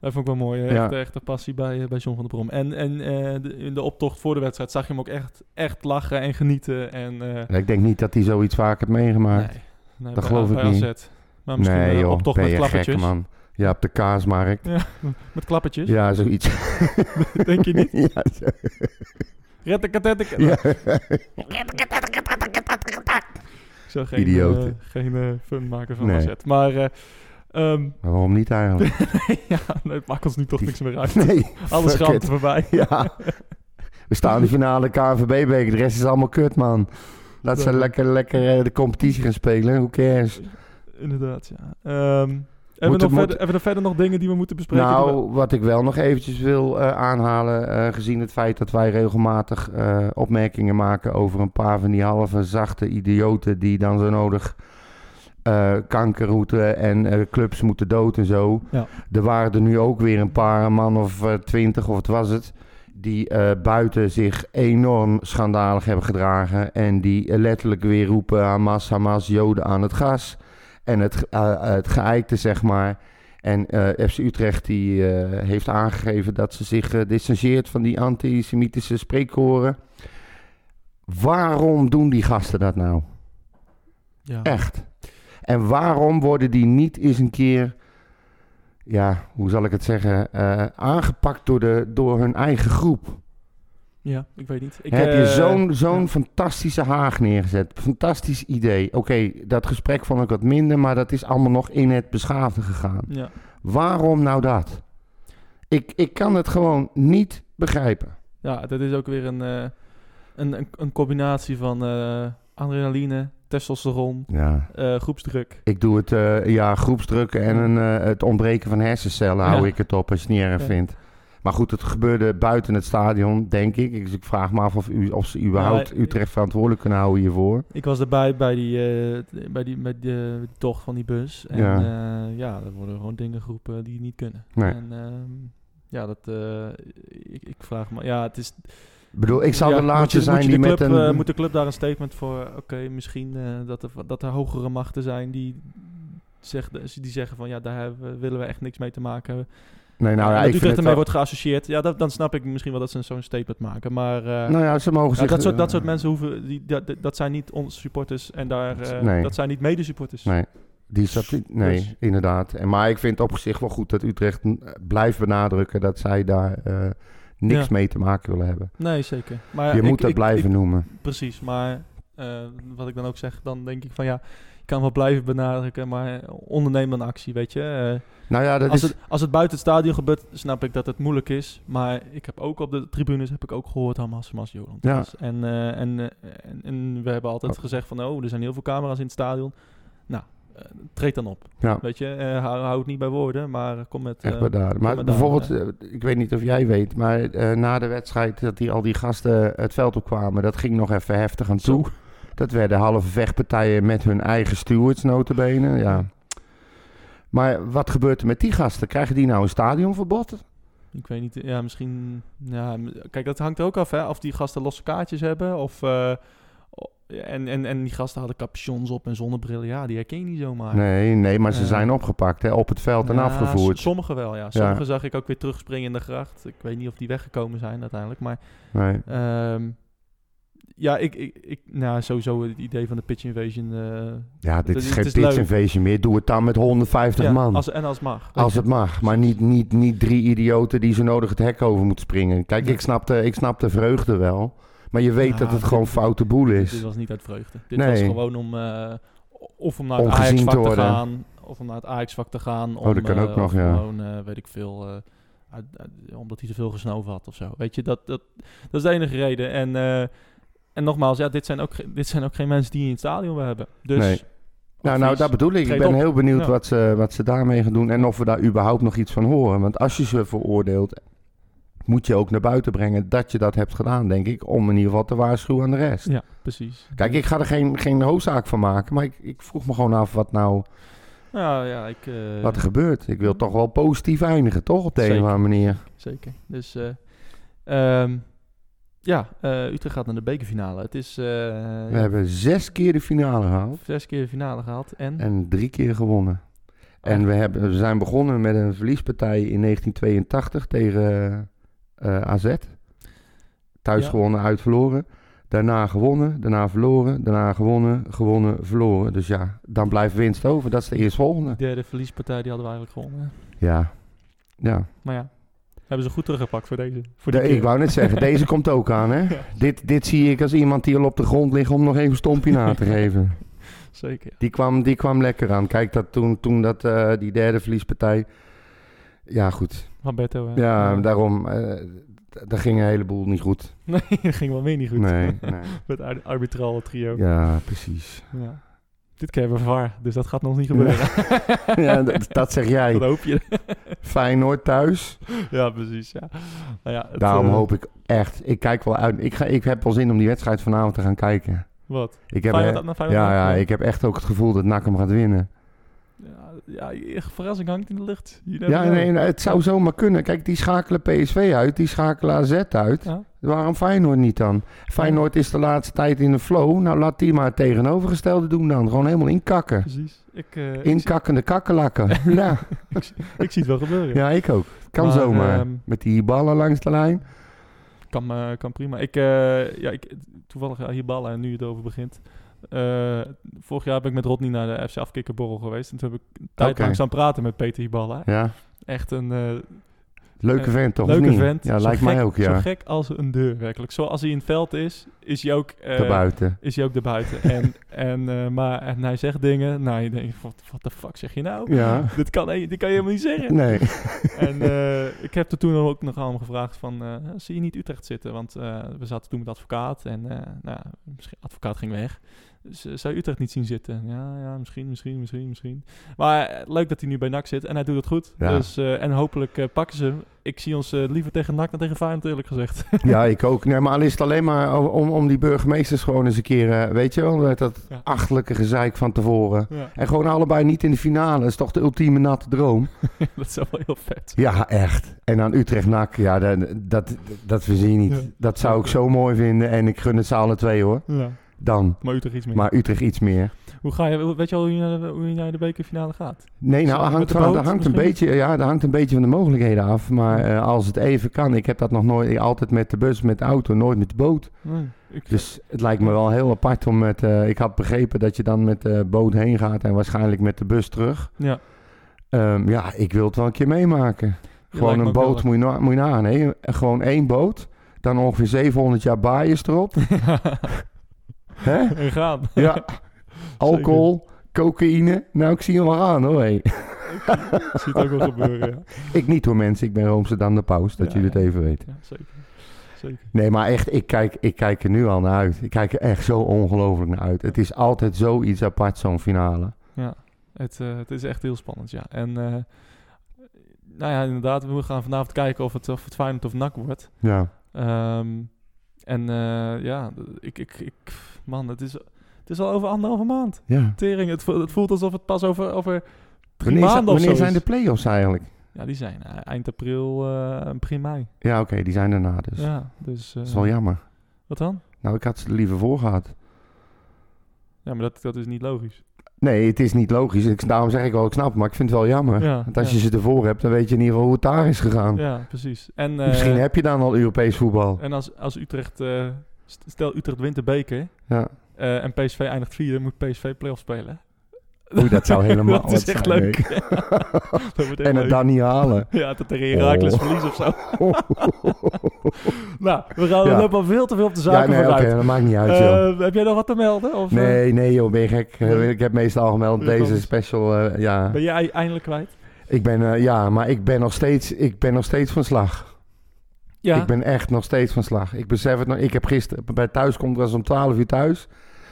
Speaker 7: Dat vond ik wel mooi. hè.
Speaker 6: Ja.
Speaker 7: Echt, echt een passie bij, eh, bij John van der Brom. En, en eh, de- in de optocht voor de wedstrijd zag je hem ook echt, echt lachen en genieten. En, eh,
Speaker 6: Ik denk niet dat hij zoiets vaak heeft meegemaakt.
Speaker 7: Nee, nee,
Speaker 6: dat
Speaker 7: bij-
Speaker 6: geloof
Speaker 7: bij
Speaker 6: ik niet.
Speaker 7: AZ. Maar misschien
Speaker 6: nee,
Speaker 7: een
Speaker 6: joh,
Speaker 7: optocht
Speaker 6: ben
Speaker 7: met
Speaker 6: je
Speaker 7: klappertjes.
Speaker 6: gek, man. Ja, op de kaasmarkt.
Speaker 7: Ja, met klappertjes.
Speaker 6: Ja, zoiets.
Speaker 7: Denk je niet?
Speaker 6: ja, zo.
Speaker 7: Red de katet.
Speaker 6: Ja.
Speaker 7: Ik zou geen,
Speaker 6: Idioot.
Speaker 7: eh, geen eh, fun maken van
Speaker 6: Nee.
Speaker 7: AZ. Maar eh, ehm,
Speaker 6: Maar waarom niet eigenlijk?
Speaker 7: ja, nee, het maakt ons nu toch niks meer uit.
Speaker 6: Nee,
Speaker 7: Alles
Speaker 6: fuck
Speaker 7: gaat
Speaker 6: it.
Speaker 7: voorbij.
Speaker 6: Ja. We staan in de finale KNVB-beker. De rest is allemaal kut, man. Laat ze
Speaker 7: Ja.
Speaker 6: lekker, lekker eh, de competitie gaan spelen. Who cares?
Speaker 7: Inderdaad, ja. Ehm, hebben, we
Speaker 6: Moet het-
Speaker 7: nog
Speaker 6: moet-
Speaker 7: verder, hebben we nog verder nog dingen die we moeten bespreken? die we-
Speaker 6: Nou, wat ik wel nog eventjes wil eh, aanhalen... eh, gezien het feit dat wij regelmatig eh, opmerkingen maken... over een paar van die halve zachte idioten... die dan zo nodig eh kankerroute en eh, clubs moeten dood en zo.
Speaker 7: Ja.
Speaker 6: Er waren er nu ook weer een paar, een man of eh, twintig of wat was het... die eh, buiten zich enorm schandalig hebben gedragen... en die eh, letterlijk weer roepen Hamas, Hamas, Joden aan het gas... en het, eh eh, het geëikte, zeg maar... En eh, FC Utrecht die, eh, heeft aangegeven dat ze zich eh, distancieert van die antisemitische spreekkoren. Waarom doen die gasten dat nou?
Speaker 7: ja.
Speaker 6: Echt. En waarom worden die niet eens een keer, ja, hoe zal ik het zeggen, eh, aangepakt door, de, door hun eigen groep?
Speaker 7: Ja, ik weet niet. Ik,
Speaker 6: Heb
Speaker 7: eh,
Speaker 6: je zo'n zo'n
Speaker 7: ja.
Speaker 6: fantastische haag neergezet? Fantastisch idee. Oké, dat gesprek vond ik wat minder, maar dat is allemaal nog in het beschaafde gegaan.
Speaker 7: Ja.
Speaker 6: Waarom nou dat? Ik, ik kan het gewoon niet begrijpen.
Speaker 7: ja, dat is ook weer een, eh, een, een, een combinatie van eh, adrenaline, testosteron,
Speaker 6: Ja.
Speaker 7: eh, groepsdruk.
Speaker 6: Ik doe het eh, ja, groepsdrukken en een, eh, het ontbreken van hersencellen
Speaker 7: Ja.
Speaker 6: hou ik het op als je het niet erg
Speaker 7: Ja.
Speaker 6: vindt. Maar goed, het gebeurde buiten het stadion, denk ik. Dus ik vraag me af of, u, of ze überhaupt
Speaker 7: Nou,
Speaker 6: Utrecht verantwoordelijk kunnen houden hiervoor.
Speaker 7: Ik was erbij bij die, eh, bij die, bij die, eh, tocht van die bus. En
Speaker 6: Ja.
Speaker 7: ja, ja er worden gewoon dingen geroepen die niet kunnen.
Speaker 6: Nee.
Speaker 7: En ehm, ja, dat, eh, ik, ik vraag me... Ja, het is,
Speaker 6: Ik bedoel, ik zal
Speaker 7: Ja,
Speaker 6: de
Speaker 7: moet je-
Speaker 6: laatste
Speaker 7: moet je
Speaker 6: zijn
Speaker 7: de
Speaker 6: die met
Speaker 7: club,
Speaker 6: een...
Speaker 7: eh, moet de club daar een statement voor... Oké, misschien eh, dat, er, dat er hogere machten zijn die, zegt, die zeggen van... Ja, daar hebben we- willen we echt niks mee te maken hebben.
Speaker 6: nee, nou ja,
Speaker 7: En dat
Speaker 6: ik vind
Speaker 7: Utrecht
Speaker 6: het
Speaker 7: ermee
Speaker 6: wel-
Speaker 7: wordt geassocieerd. Ja, dat, dan snap ik misschien wel dat ze zo'n statement maken. Maar eh,
Speaker 6: Nou ja, ze mogen
Speaker 7: ja,
Speaker 6: zich...
Speaker 7: dat, soort, dat
Speaker 6: eh,
Speaker 7: soort mensen hoeven... Die, dat, dat- dat zijn niet onze supporters en daar, eh,
Speaker 6: Nee.
Speaker 7: dat zijn niet medesupporters.
Speaker 6: Nee. Die statu- nee,
Speaker 7: Dus-
Speaker 6: inderdaad. En, maar ik vind het op zich wel goed dat Utrecht eh, blijft benadrukken dat zij daar eh, niks
Speaker 7: Ja.
Speaker 6: mee te maken willen hebben.
Speaker 7: Nee, zeker. Maar
Speaker 6: je
Speaker 7: ik-
Speaker 6: moet dat
Speaker 7: ik-
Speaker 6: blijven noemen.
Speaker 7: Precies, maar eh, wat ik dan ook zeg, dan denk ik van ja, je kan wel blijven benadrukken, maar onderneem dan actie, weet je. Eh,
Speaker 6: Nou ja, dat
Speaker 7: als,
Speaker 6: is...
Speaker 7: het, als het buiten het stadion gebeurt, snap ik dat het moeilijk is, maar ik heb ook op de tribunes heb ik ook gehoord Hamas, Hamas, Joland.
Speaker 6: Ja.
Speaker 7: En, eh, en, eh, en, en we hebben altijd
Speaker 6: Oh.
Speaker 7: gezegd van oh, er zijn heel veel camera's in het stadion. Nou, eh, treed dan op,
Speaker 6: Ja.
Speaker 7: weet je. Eh, hou, hou het niet bij woorden, maar kom met...
Speaker 6: Echt
Speaker 7: eh,
Speaker 6: bedaard. Maar
Speaker 7: met
Speaker 6: bijvoorbeeld,
Speaker 7: daden,
Speaker 6: eh, ik weet niet of jij weet, maar eh, na de wedstrijd dat die, al die gasten het veld opkwamen, dat ging nog even heftig aan toe. Dat werden halve vechtpartijen met hun eigen stewards notabene, ja. Maar wat gebeurt er met die gasten? Krijgen die nou een stadionverbod?
Speaker 7: Ik weet niet, ja, misschien... Ja, m- kijk, dat hangt er ook af, hè. Of die gasten losse kaartjes hebben, of... eh, o- en, en, en die gasten hadden capuchons op en zonnebrillen. Ja, die herken je niet zomaar.
Speaker 6: Nee, nee, maar ze
Speaker 7: Eh.
Speaker 6: zijn opgepakt hè, op het veld en
Speaker 7: Ja,
Speaker 6: afgevoerd.
Speaker 7: s- Sommigen wel, ja. Sommigen zag ik ook weer terugspringen in de gracht. Ik weet niet of die weggekomen zijn uiteindelijk, maar...
Speaker 6: Nee.
Speaker 7: ehm, ja, ik, ik, ik... Nou, sowieso het idee van de pitch invasion... eh,
Speaker 6: Ja, dit
Speaker 7: Het
Speaker 6: is
Speaker 7: is-
Speaker 6: geen
Speaker 7: het is leuk.
Speaker 6: pitchinvasion meer. Doe het dan met 150
Speaker 7: ja,
Speaker 6: man. Als,
Speaker 7: Als, en als mag.
Speaker 6: het mag. Maar niet, niet, niet drie idioten die zo nodig het hek over moeten springen. Kijk,
Speaker 7: Nee.
Speaker 6: ik, snap de, ik snap de vreugde wel. Maar je weet
Speaker 7: Ja,
Speaker 6: dat het
Speaker 7: dit-
Speaker 6: gewoon foute boel
Speaker 7: Dit
Speaker 6: is.
Speaker 7: was niet uit vreugde. Dit
Speaker 6: Nee.
Speaker 7: was gewoon om... eh, of om naar
Speaker 6: Om
Speaker 7: het
Speaker 6: gezien
Speaker 7: Ajax-vak
Speaker 6: te
Speaker 7: te,
Speaker 6: worden.
Speaker 7: gaan. Of om naar het Ajax-vak te gaan.
Speaker 6: Oh, dat
Speaker 7: om,
Speaker 6: kan
Speaker 7: eh,
Speaker 6: ook nog,
Speaker 7: of
Speaker 6: ja.
Speaker 7: Gewoon, eh, weet ik veel... eh, uit- uit- omdat hij te veel gesnoven had of zo. Weet je, dat, dat, dat is de enige reden. En eh, En nogmaals, ja, dit, zijn ook, ge- dit zijn ook geen mensen die je in het stadion wil hebben. Dus
Speaker 6: Nee. Nou, nou,
Speaker 7: advies,
Speaker 6: dat bedoel ik. Ik
Speaker 7: treed
Speaker 6: ben
Speaker 7: op.
Speaker 6: heel benieuwd
Speaker 7: Ja.
Speaker 6: wat, ze, wat ze daarmee gaan doen en of we daar überhaupt nog iets van horen. Want als je ze veroordeelt, moet je ook naar buiten brengen dat je dat hebt gedaan, denk ik. Om in ieder geval te waarschuwen aan de rest.
Speaker 7: Ja, precies.
Speaker 6: Kijk, ik ga er geen, geen hoofdzaak van maken, maar ik, ik vroeg me gewoon af wat nou
Speaker 7: Nou ja, ik... eh,
Speaker 6: wat er gebeurt. Ik wil toch wel positief eindigen, toch? Op de een
Speaker 7: Zeker.
Speaker 6: of andere manier.
Speaker 7: Zeker. Dus eh, ehm, ja, eh, Utrecht gaat naar de bekerfinale. Het is eh,
Speaker 6: We hebben zes keer de finale gehaald
Speaker 7: zes keer de finale gehad en...
Speaker 6: en drie keer gewonnen. En we, hebben, we zijn begonnen met een verliespartij in 1982 tegen eh, AZ. Thuis
Speaker 7: Ja.
Speaker 6: gewonnen, uit verloren. Daarna gewonnen, daarna verloren, daarna gewonnen, gewonnen, verloren. Dus ja, dan blijft winst over. Dat is de eerstvolgende.
Speaker 7: De derde verliespartij die hadden we eigenlijk gewonnen.
Speaker 6: Ja, ja.
Speaker 7: Maar ja, hebben ze goed teruggepakt voor deze. Voor die
Speaker 6: De, ik
Speaker 7: keer.
Speaker 6: wou net zeggen, deze komt ook aan, hè?
Speaker 7: Ja.
Speaker 6: Dit, dit zie ik als iemand die al op de grond ligt om nog even een stompje na te geven.
Speaker 7: Zeker.
Speaker 6: Die kwam, die kwam lekker aan. Kijk, dat toen, toen dat, eh, die derde verliespartij... Ja, goed.
Speaker 7: Roberto. hè.
Speaker 6: Ja, daarom... eh, d- daar ging een heleboel niet goed.
Speaker 7: Nee, dat ging wel meer niet goed.
Speaker 6: Nee, nee.
Speaker 7: Met ar- arbitrale trio. Ja.
Speaker 6: Ja, precies.
Speaker 7: Dit keer hebben we VAR, dus dat gaat nog niet gebeuren.
Speaker 6: Ja, dat, dat zeg
Speaker 7: Dat
Speaker 6: jij.
Speaker 7: hoop je.
Speaker 6: Feyenoord thuis.
Speaker 7: Ja, precies. Ja. Nou ja, het,
Speaker 6: Daarom
Speaker 7: eh,
Speaker 6: hoop ik echt... Ik kijk wel uit. Ik, ga, ik heb wel zin om die wedstrijd vanavond te gaan kijken.
Speaker 7: Wat?
Speaker 6: Ik heb,
Speaker 7: Feyenoord
Speaker 6: he-
Speaker 7: uit naar Feyenoord
Speaker 6: ja,
Speaker 7: uit?
Speaker 6: ja,
Speaker 7: Ja.
Speaker 6: ik heb echt ook het gevoel dat NAC hem gaat winnen.
Speaker 7: Ja, ja, je verrassing hangt in de lucht. You never
Speaker 6: Ja,
Speaker 7: know.
Speaker 6: nee, nou, het zou zomaar kunnen. Kijk, die schakelen PSV uit, die schakelen AZ uit.
Speaker 7: Ja.
Speaker 6: Waarom Feyenoord niet dan? Feyenoord is de laatste tijd in de flow. Nou, laat die maar het tegenovergestelde doen dan. Gewoon helemaal inkakken.
Speaker 7: Precies. Ik, eh, ik, zie,
Speaker 6: Inkakkende kakkelakken. ja,
Speaker 7: ik zie het wel gebeuren.
Speaker 6: ja, ik ook. Kan
Speaker 7: Maar,
Speaker 6: zomaar.
Speaker 7: ehm,
Speaker 6: Met die ballen langs de lijn.
Speaker 7: Kan, eh, kan prima. Ik, eh, ja, ik, toevallig eh, hier ballen en nu het over begint. Eh, vorig jaar ben ik met Rodney naar de FC Afkikkerborrel geweest. En toen heb ik een tijd
Speaker 6: Oké.
Speaker 7: lang staan praten met Peter Hiballa.
Speaker 6: Ja,
Speaker 7: Echt een eh,
Speaker 6: leuke
Speaker 7: Eh,
Speaker 6: vent toch? of
Speaker 7: leuke
Speaker 6: niet?
Speaker 7: vent.
Speaker 6: Ja,
Speaker 7: Zo
Speaker 6: lijkt
Speaker 7: gek-
Speaker 6: mij ook, ja.
Speaker 7: Zo gek als een deur, werkelijk. Zoals hij in het veld is, is hij ook... eh,
Speaker 6: Daarbuiten.
Speaker 7: is hij ook daarbuiten. en, en, eh, maar, en hij zegt dingen. Nou, je denkt, wat what the fuck zeg je nou?
Speaker 6: Ja.
Speaker 7: Dit, kan, he- dit kan je helemaal niet zeggen.
Speaker 6: Nee.
Speaker 7: En eh, ik heb er toen ook nog aan hem gevraagd van, eh, zie je niet Utrecht zitten? Want eh, we zaten toen met advocaat en eh, nou, ja, misschien, advocaat ging weg. Dus eh, zou je Utrecht niet zien zitten? Ja, ja, misschien, misschien, misschien, misschien. Maar eh, leuk dat hij nu bij NAC zit en hij doet het goed.
Speaker 6: Ja.
Speaker 7: Dus, eh, en hopelijk eh, pakken ze hem. Ik zie ons eh, liever tegen NAC dan tegen Feyenoord eerlijk gezegd.
Speaker 6: Ja, ik ook. Nee, maar al is het alleen maar om, om die burgemeesters gewoon eens een keer... eh, weet je wel, met dat
Speaker 7: Ja.
Speaker 6: achtelijke gezeik van tevoren.
Speaker 7: ja,
Speaker 6: En gewoon allebei niet in de finale. Dat is toch de ultieme natte droom?
Speaker 7: dat zou wel heel vet.
Speaker 6: Ja, echt. En aan Utrecht NAC, ja, dat, dat, dat verzin je niet.
Speaker 7: Ja.
Speaker 6: Dat zou ik zo mooi vinden. En ik gun het ze alle twee hoor.
Speaker 7: Ja.
Speaker 6: Dan.
Speaker 7: Maar Utrecht iets meer.
Speaker 6: Maar Utrecht iets meer.
Speaker 7: Hoe ga je, weet je al hoe je naar de, hoe je naar de bekerfinale gaat?
Speaker 6: Nee, nou,
Speaker 7: Zo,
Speaker 6: dat hangt,
Speaker 7: met de
Speaker 6: van,
Speaker 7: boot
Speaker 6: dat hangt een
Speaker 7: misschien?
Speaker 6: beetje, ja, dat hangt een beetje van de mogelijkheden af. Maar eh, als het even kan, ik heb dat nog nooit, altijd met de bus, met de auto, nooit met de boot.
Speaker 7: Nee, ik,
Speaker 6: Dus het lijkt me wel heel apart om met, eh, ik had begrepen dat je dan met de boot heen gaat en waarschijnlijk met de bus terug.
Speaker 7: ja,
Speaker 6: Ehm, ja, ik wil het wel een keer meemaken. Gewoon een boot moet je, na, moet je nagaan. hè. Gewoon één boot. Dan ongeveer 700 jaar baaiers erop. Hè?
Speaker 7: en gaan.
Speaker 6: Ja. Alcohol, cocaïne. Nou, ik zie hem wel aan hoor. hé.
Speaker 7: Ik zie het ook wel gebeuren, ja.
Speaker 6: Ik niet hoor mensen. Ik ben Roomsterdam de paus. Dat
Speaker 7: Ja,
Speaker 6: jullie het
Speaker 7: ja.
Speaker 6: even weten.
Speaker 7: Ja, zeker. zeker.
Speaker 6: Nee, maar echt. Ik kijk, ik kijk er nu al naar uit. Ik kijk er echt zo ongelooflijk naar uit. Het is altijd zoiets apart zo'n finale.
Speaker 7: Het, eh, het is echt heel spannend, ja. En eh, nou ja, inderdaad, we gaan vanavond kijken of het, of het Feyenoord of NAC wordt.
Speaker 6: Ja.
Speaker 7: Ehm, en eh, ja, ik, ik, ik, man, het is, het is al over anderhalve maand.
Speaker 6: Ja.
Speaker 7: Tering, het voelt, het voelt alsof het pas over, over drie
Speaker 6: Wanneer,
Speaker 7: maanden of
Speaker 6: wanneer
Speaker 7: zo
Speaker 6: zijn de
Speaker 7: is.
Speaker 6: play-offs eigenlijk?
Speaker 7: Ja, die zijn eh, eind april, eh, begin mei.
Speaker 6: Ja, oké. die zijn daarna dus.
Speaker 7: Ja, dus... eh,
Speaker 6: Dat is wel jammer.
Speaker 7: wat dan?
Speaker 6: Nou, ik had ze er liever voor gehad.
Speaker 7: Ja, maar dat, dat is niet logisch.
Speaker 6: Nee, het is niet logisch. Ik, daarom zeg ik wel, ik snap het, maar ik vind het wel jammer.
Speaker 7: Ja,
Speaker 6: Want als
Speaker 7: ja.
Speaker 6: je ze ervoor hebt, dan weet je in ieder geval hoe het daar is gegaan.
Speaker 7: Ja, precies. En, eh,
Speaker 6: Misschien heb je dan al Europees voetbal.
Speaker 7: En als, als Utrecht, eh, st- stel Utrecht wint de beker
Speaker 6: Ja.
Speaker 7: eh, en PSV eindigt vierde, moet PSV play-off spelen.
Speaker 6: Oei, dat zou helemaal
Speaker 7: dat is
Speaker 6: wat
Speaker 7: echt
Speaker 6: zijn,
Speaker 7: leuk.
Speaker 6: hè.
Speaker 7: Dat wordt echt
Speaker 6: En het
Speaker 7: leuk.
Speaker 6: dan niet halen.
Speaker 7: Ja, dat er Herakles
Speaker 6: Oh.
Speaker 7: verlies of zo. nou, we gaan we
Speaker 6: Ja.
Speaker 7: lopen al veel te veel op de
Speaker 6: ja,
Speaker 7: zaken
Speaker 6: nee, oké,
Speaker 7: vooruit.
Speaker 6: dat maakt niet uit, joh.
Speaker 7: Eh, heb jij nog wat te melden? Of, eh,
Speaker 6: Nee, nee joh, ben je gek. Eh, Ik heb meestal gemeld
Speaker 7: Ja,
Speaker 6: deze
Speaker 7: dat is-
Speaker 6: special. eh, ja.
Speaker 7: ben jij eindelijk kwijt?
Speaker 6: Ik ben, eh, ja, maar ik ben nog steeds, ik ben nog steeds van slag.
Speaker 7: Ja.
Speaker 6: Ik ben echt nog steeds van slag. Ik besef het nog. Ik heb gisteren bij thuiskomst was om 12 uur thuis.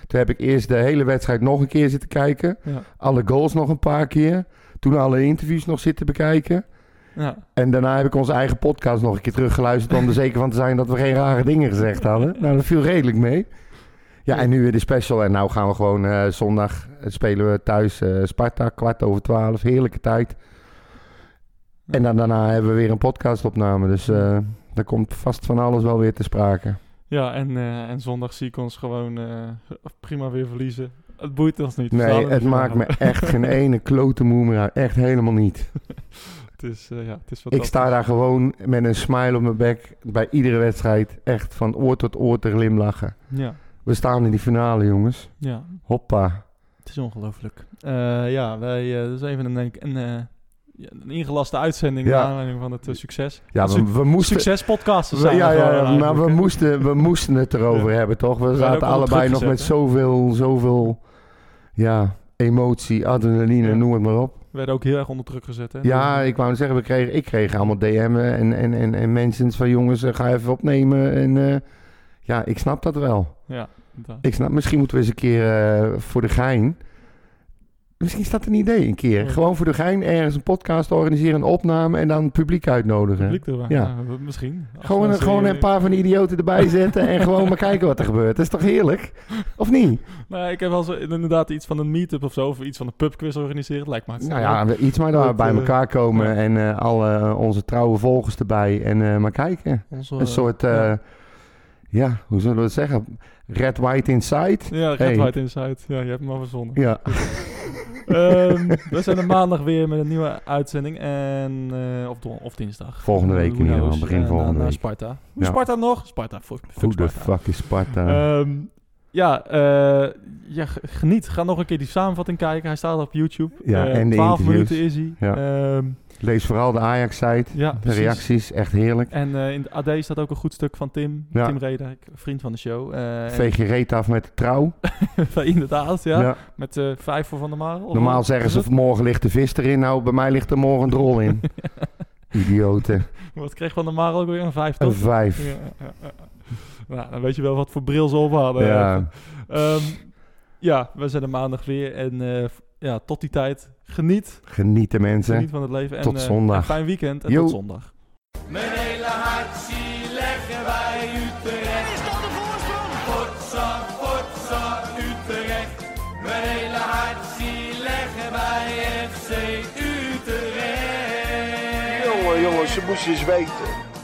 Speaker 6: Toen heb ik eerst de hele wedstrijd nog een keer zitten kijken.
Speaker 7: Ja.
Speaker 6: Alle goals nog een paar keer. Toen alle interviews nog zitten bekijken.
Speaker 7: Ja.
Speaker 6: En daarna heb ik onze eigen podcast nog een keer teruggeluisterd. om er zeker van te zijn dat we geen rare dingen gezegd hadden. Nou, dat viel redelijk mee. Ja, en nu weer de special. En nou gaan we gewoon eh, zondag eh, spelen we thuis eh, Sparta, kwart over twaalf. Heerlijke tijd. En dan, daarna hebben we weer een podcastopname. Dus eh daar komt vast van alles wel weer te sprake.
Speaker 7: Ja, en, eh, en zondag zie ik ons gewoon eh, prima weer verliezen. Het boeit ons niet. We gaan
Speaker 6: Nee,
Speaker 7: er
Speaker 6: het
Speaker 7: niet
Speaker 6: maakt
Speaker 7: van.
Speaker 6: me echt geen ene klote moe meer uit. Echt helemaal niet.
Speaker 7: Het is, eh, ja, het is wat
Speaker 6: Ik sta daar gewoon met een smile op mijn bek bij iedere wedstrijd. Echt van oor tot oor te glimlachen.
Speaker 7: Ja,
Speaker 6: We staan in die finale, jongens.
Speaker 7: ja,
Speaker 6: Hoppa.
Speaker 7: het is ongelooflijk. Eh, ja, wij, eh, dat is even een, een, eh, ja, een ingelaste uitzending
Speaker 6: Ja.
Speaker 7: naar aanleiding van het eh, succes.
Speaker 6: Ja, we,
Speaker 7: Suc-
Speaker 6: we moesten...
Speaker 7: Succespodcast.
Speaker 6: we- ja, ja, maar we moesten, we moesten het erover hebben, toch? We
Speaker 7: ook
Speaker 6: zaten
Speaker 7: onder
Speaker 6: allebei nog
Speaker 7: druk
Speaker 6: met
Speaker 7: gezet, hè?
Speaker 6: zoveel, zoveel... Ja, emotie, adrenaline,
Speaker 7: Ja.
Speaker 6: noem het maar op.
Speaker 7: werden ook heel erg onder druk gezet. Hè?
Speaker 6: Ja, ik wou net zeggen, we kregen, ik kreeg allemaal DM'en en, en, en, en mensen van... Jongens, eh, ga even opnemen. En eh, ja, ik snap dat wel.
Speaker 7: Ja, inderdaad.
Speaker 6: Ik snap, misschien moeten we eens een keer eh, voor de gein. Misschien staat een idee een keer.
Speaker 7: Ja.
Speaker 6: Gewoon voor de gein ergens een podcast organiseren, een opname en dan het publiek uitnodigen.
Speaker 7: Publiek erbij.
Speaker 6: Ja.
Speaker 7: Ja, we- misschien. Als
Speaker 6: Gewoon,
Speaker 7: mensen
Speaker 6: gewoon
Speaker 7: hier-
Speaker 6: een paar van die idioten erbij zetten en gewoon maar kijken wat er gebeurt. Dat is toch heerlijk? Of niet?
Speaker 7: Nou, ja, ik heb wel zo, inderdaad iets van een meet-up of zo, of iets van een pubquiz organiseren. Lijkt me
Speaker 6: Nou
Speaker 7: hartstikke leuk.
Speaker 6: ja, iets maar
Speaker 7: Dat,
Speaker 6: daar bij
Speaker 7: eh,
Speaker 6: elkaar komen
Speaker 7: ja.
Speaker 6: en eh, alle eh, onze trouwe volgers erbij en eh, maar kijken.
Speaker 7: Onze,
Speaker 6: Een soort, eh,
Speaker 7: ja.
Speaker 6: ja. hoe zullen we het zeggen? Red White Inside.
Speaker 7: Ja, Red
Speaker 6: Hey.
Speaker 7: White Inside. Ja, je hebt hem al verzonnen.
Speaker 6: Ja,
Speaker 7: Ehm, we zijn er maandag weer met een nieuwe uitzending. En, eh, of, don- of dinsdag.
Speaker 6: volgende week
Speaker 7: Who
Speaker 6: in ieder geval,
Speaker 7: knows?
Speaker 6: begin
Speaker 7: Eh,
Speaker 6: volgende
Speaker 7: na- na
Speaker 6: week.
Speaker 7: Sparta. Hoe
Speaker 6: Ja.
Speaker 7: Sparta nog? Sparta, fuck, fuck
Speaker 6: Hoe de
Speaker 7: Sparta.
Speaker 6: fuck is Sparta? Eh,
Speaker 7: Ehm, ja, eh, ja, g- geniet. Ga nog een keer die samenvatting kijken. Hij staat op YouTube.
Speaker 6: Ja,
Speaker 7: Eh,
Speaker 6: en de
Speaker 7: 12
Speaker 6: interviews.
Speaker 7: minuten is hij.
Speaker 6: Ja.
Speaker 7: Ehm,
Speaker 6: Lees vooral de Ajax-site.
Speaker 7: ja,
Speaker 6: De
Speaker 7: precies.
Speaker 6: reacties, echt heerlijk.
Speaker 7: En eh, in de AD staat ook een goed stuk van Tim.
Speaker 6: Ja.
Speaker 7: Tim Redijk, vriend van de show. Eh, en-
Speaker 6: Veeg je reet af met de trouw.
Speaker 7: inderdaad, ja.
Speaker 6: Ja.
Speaker 7: Met eh, vijf voor Van der Marel. of
Speaker 6: Normaal
Speaker 7: wat?
Speaker 6: zeggen
Speaker 7: Is
Speaker 6: ze,
Speaker 7: het?
Speaker 6: morgen ligt de vis erin. Nou, bij mij ligt er morgen een drol in. Idioten.
Speaker 7: Wat kreeg Van der Marel ook weer? Een vijf,
Speaker 6: Een
Speaker 7: toch?
Speaker 6: vijf.
Speaker 7: Ja, ja, ja, ja. Nou, dan weet je wel wat voor bril ze op hadden.
Speaker 6: Ja.
Speaker 7: Ehm, ja, we zijn er maandag weer. En eh, v- ja, tot die tijd. Geniet.
Speaker 6: Genieten, mensen.
Speaker 7: Geniet van het leven. En,
Speaker 6: Tot
Speaker 7: eh,
Speaker 6: zondag.
Speaker 7: een fijn weekend en
Speaker 6: Yo.
Speaker 7: tot zondag.
Speaker 4: Mijn hele hart zie leggen wij Utrecht. Is dat de voorsprong? Potsa, potsa, Utrecht. Mijn hele hart zie leggen wij FC Utrecht.
Speaker 5: Jongen, jongens, ze moest je eens weten.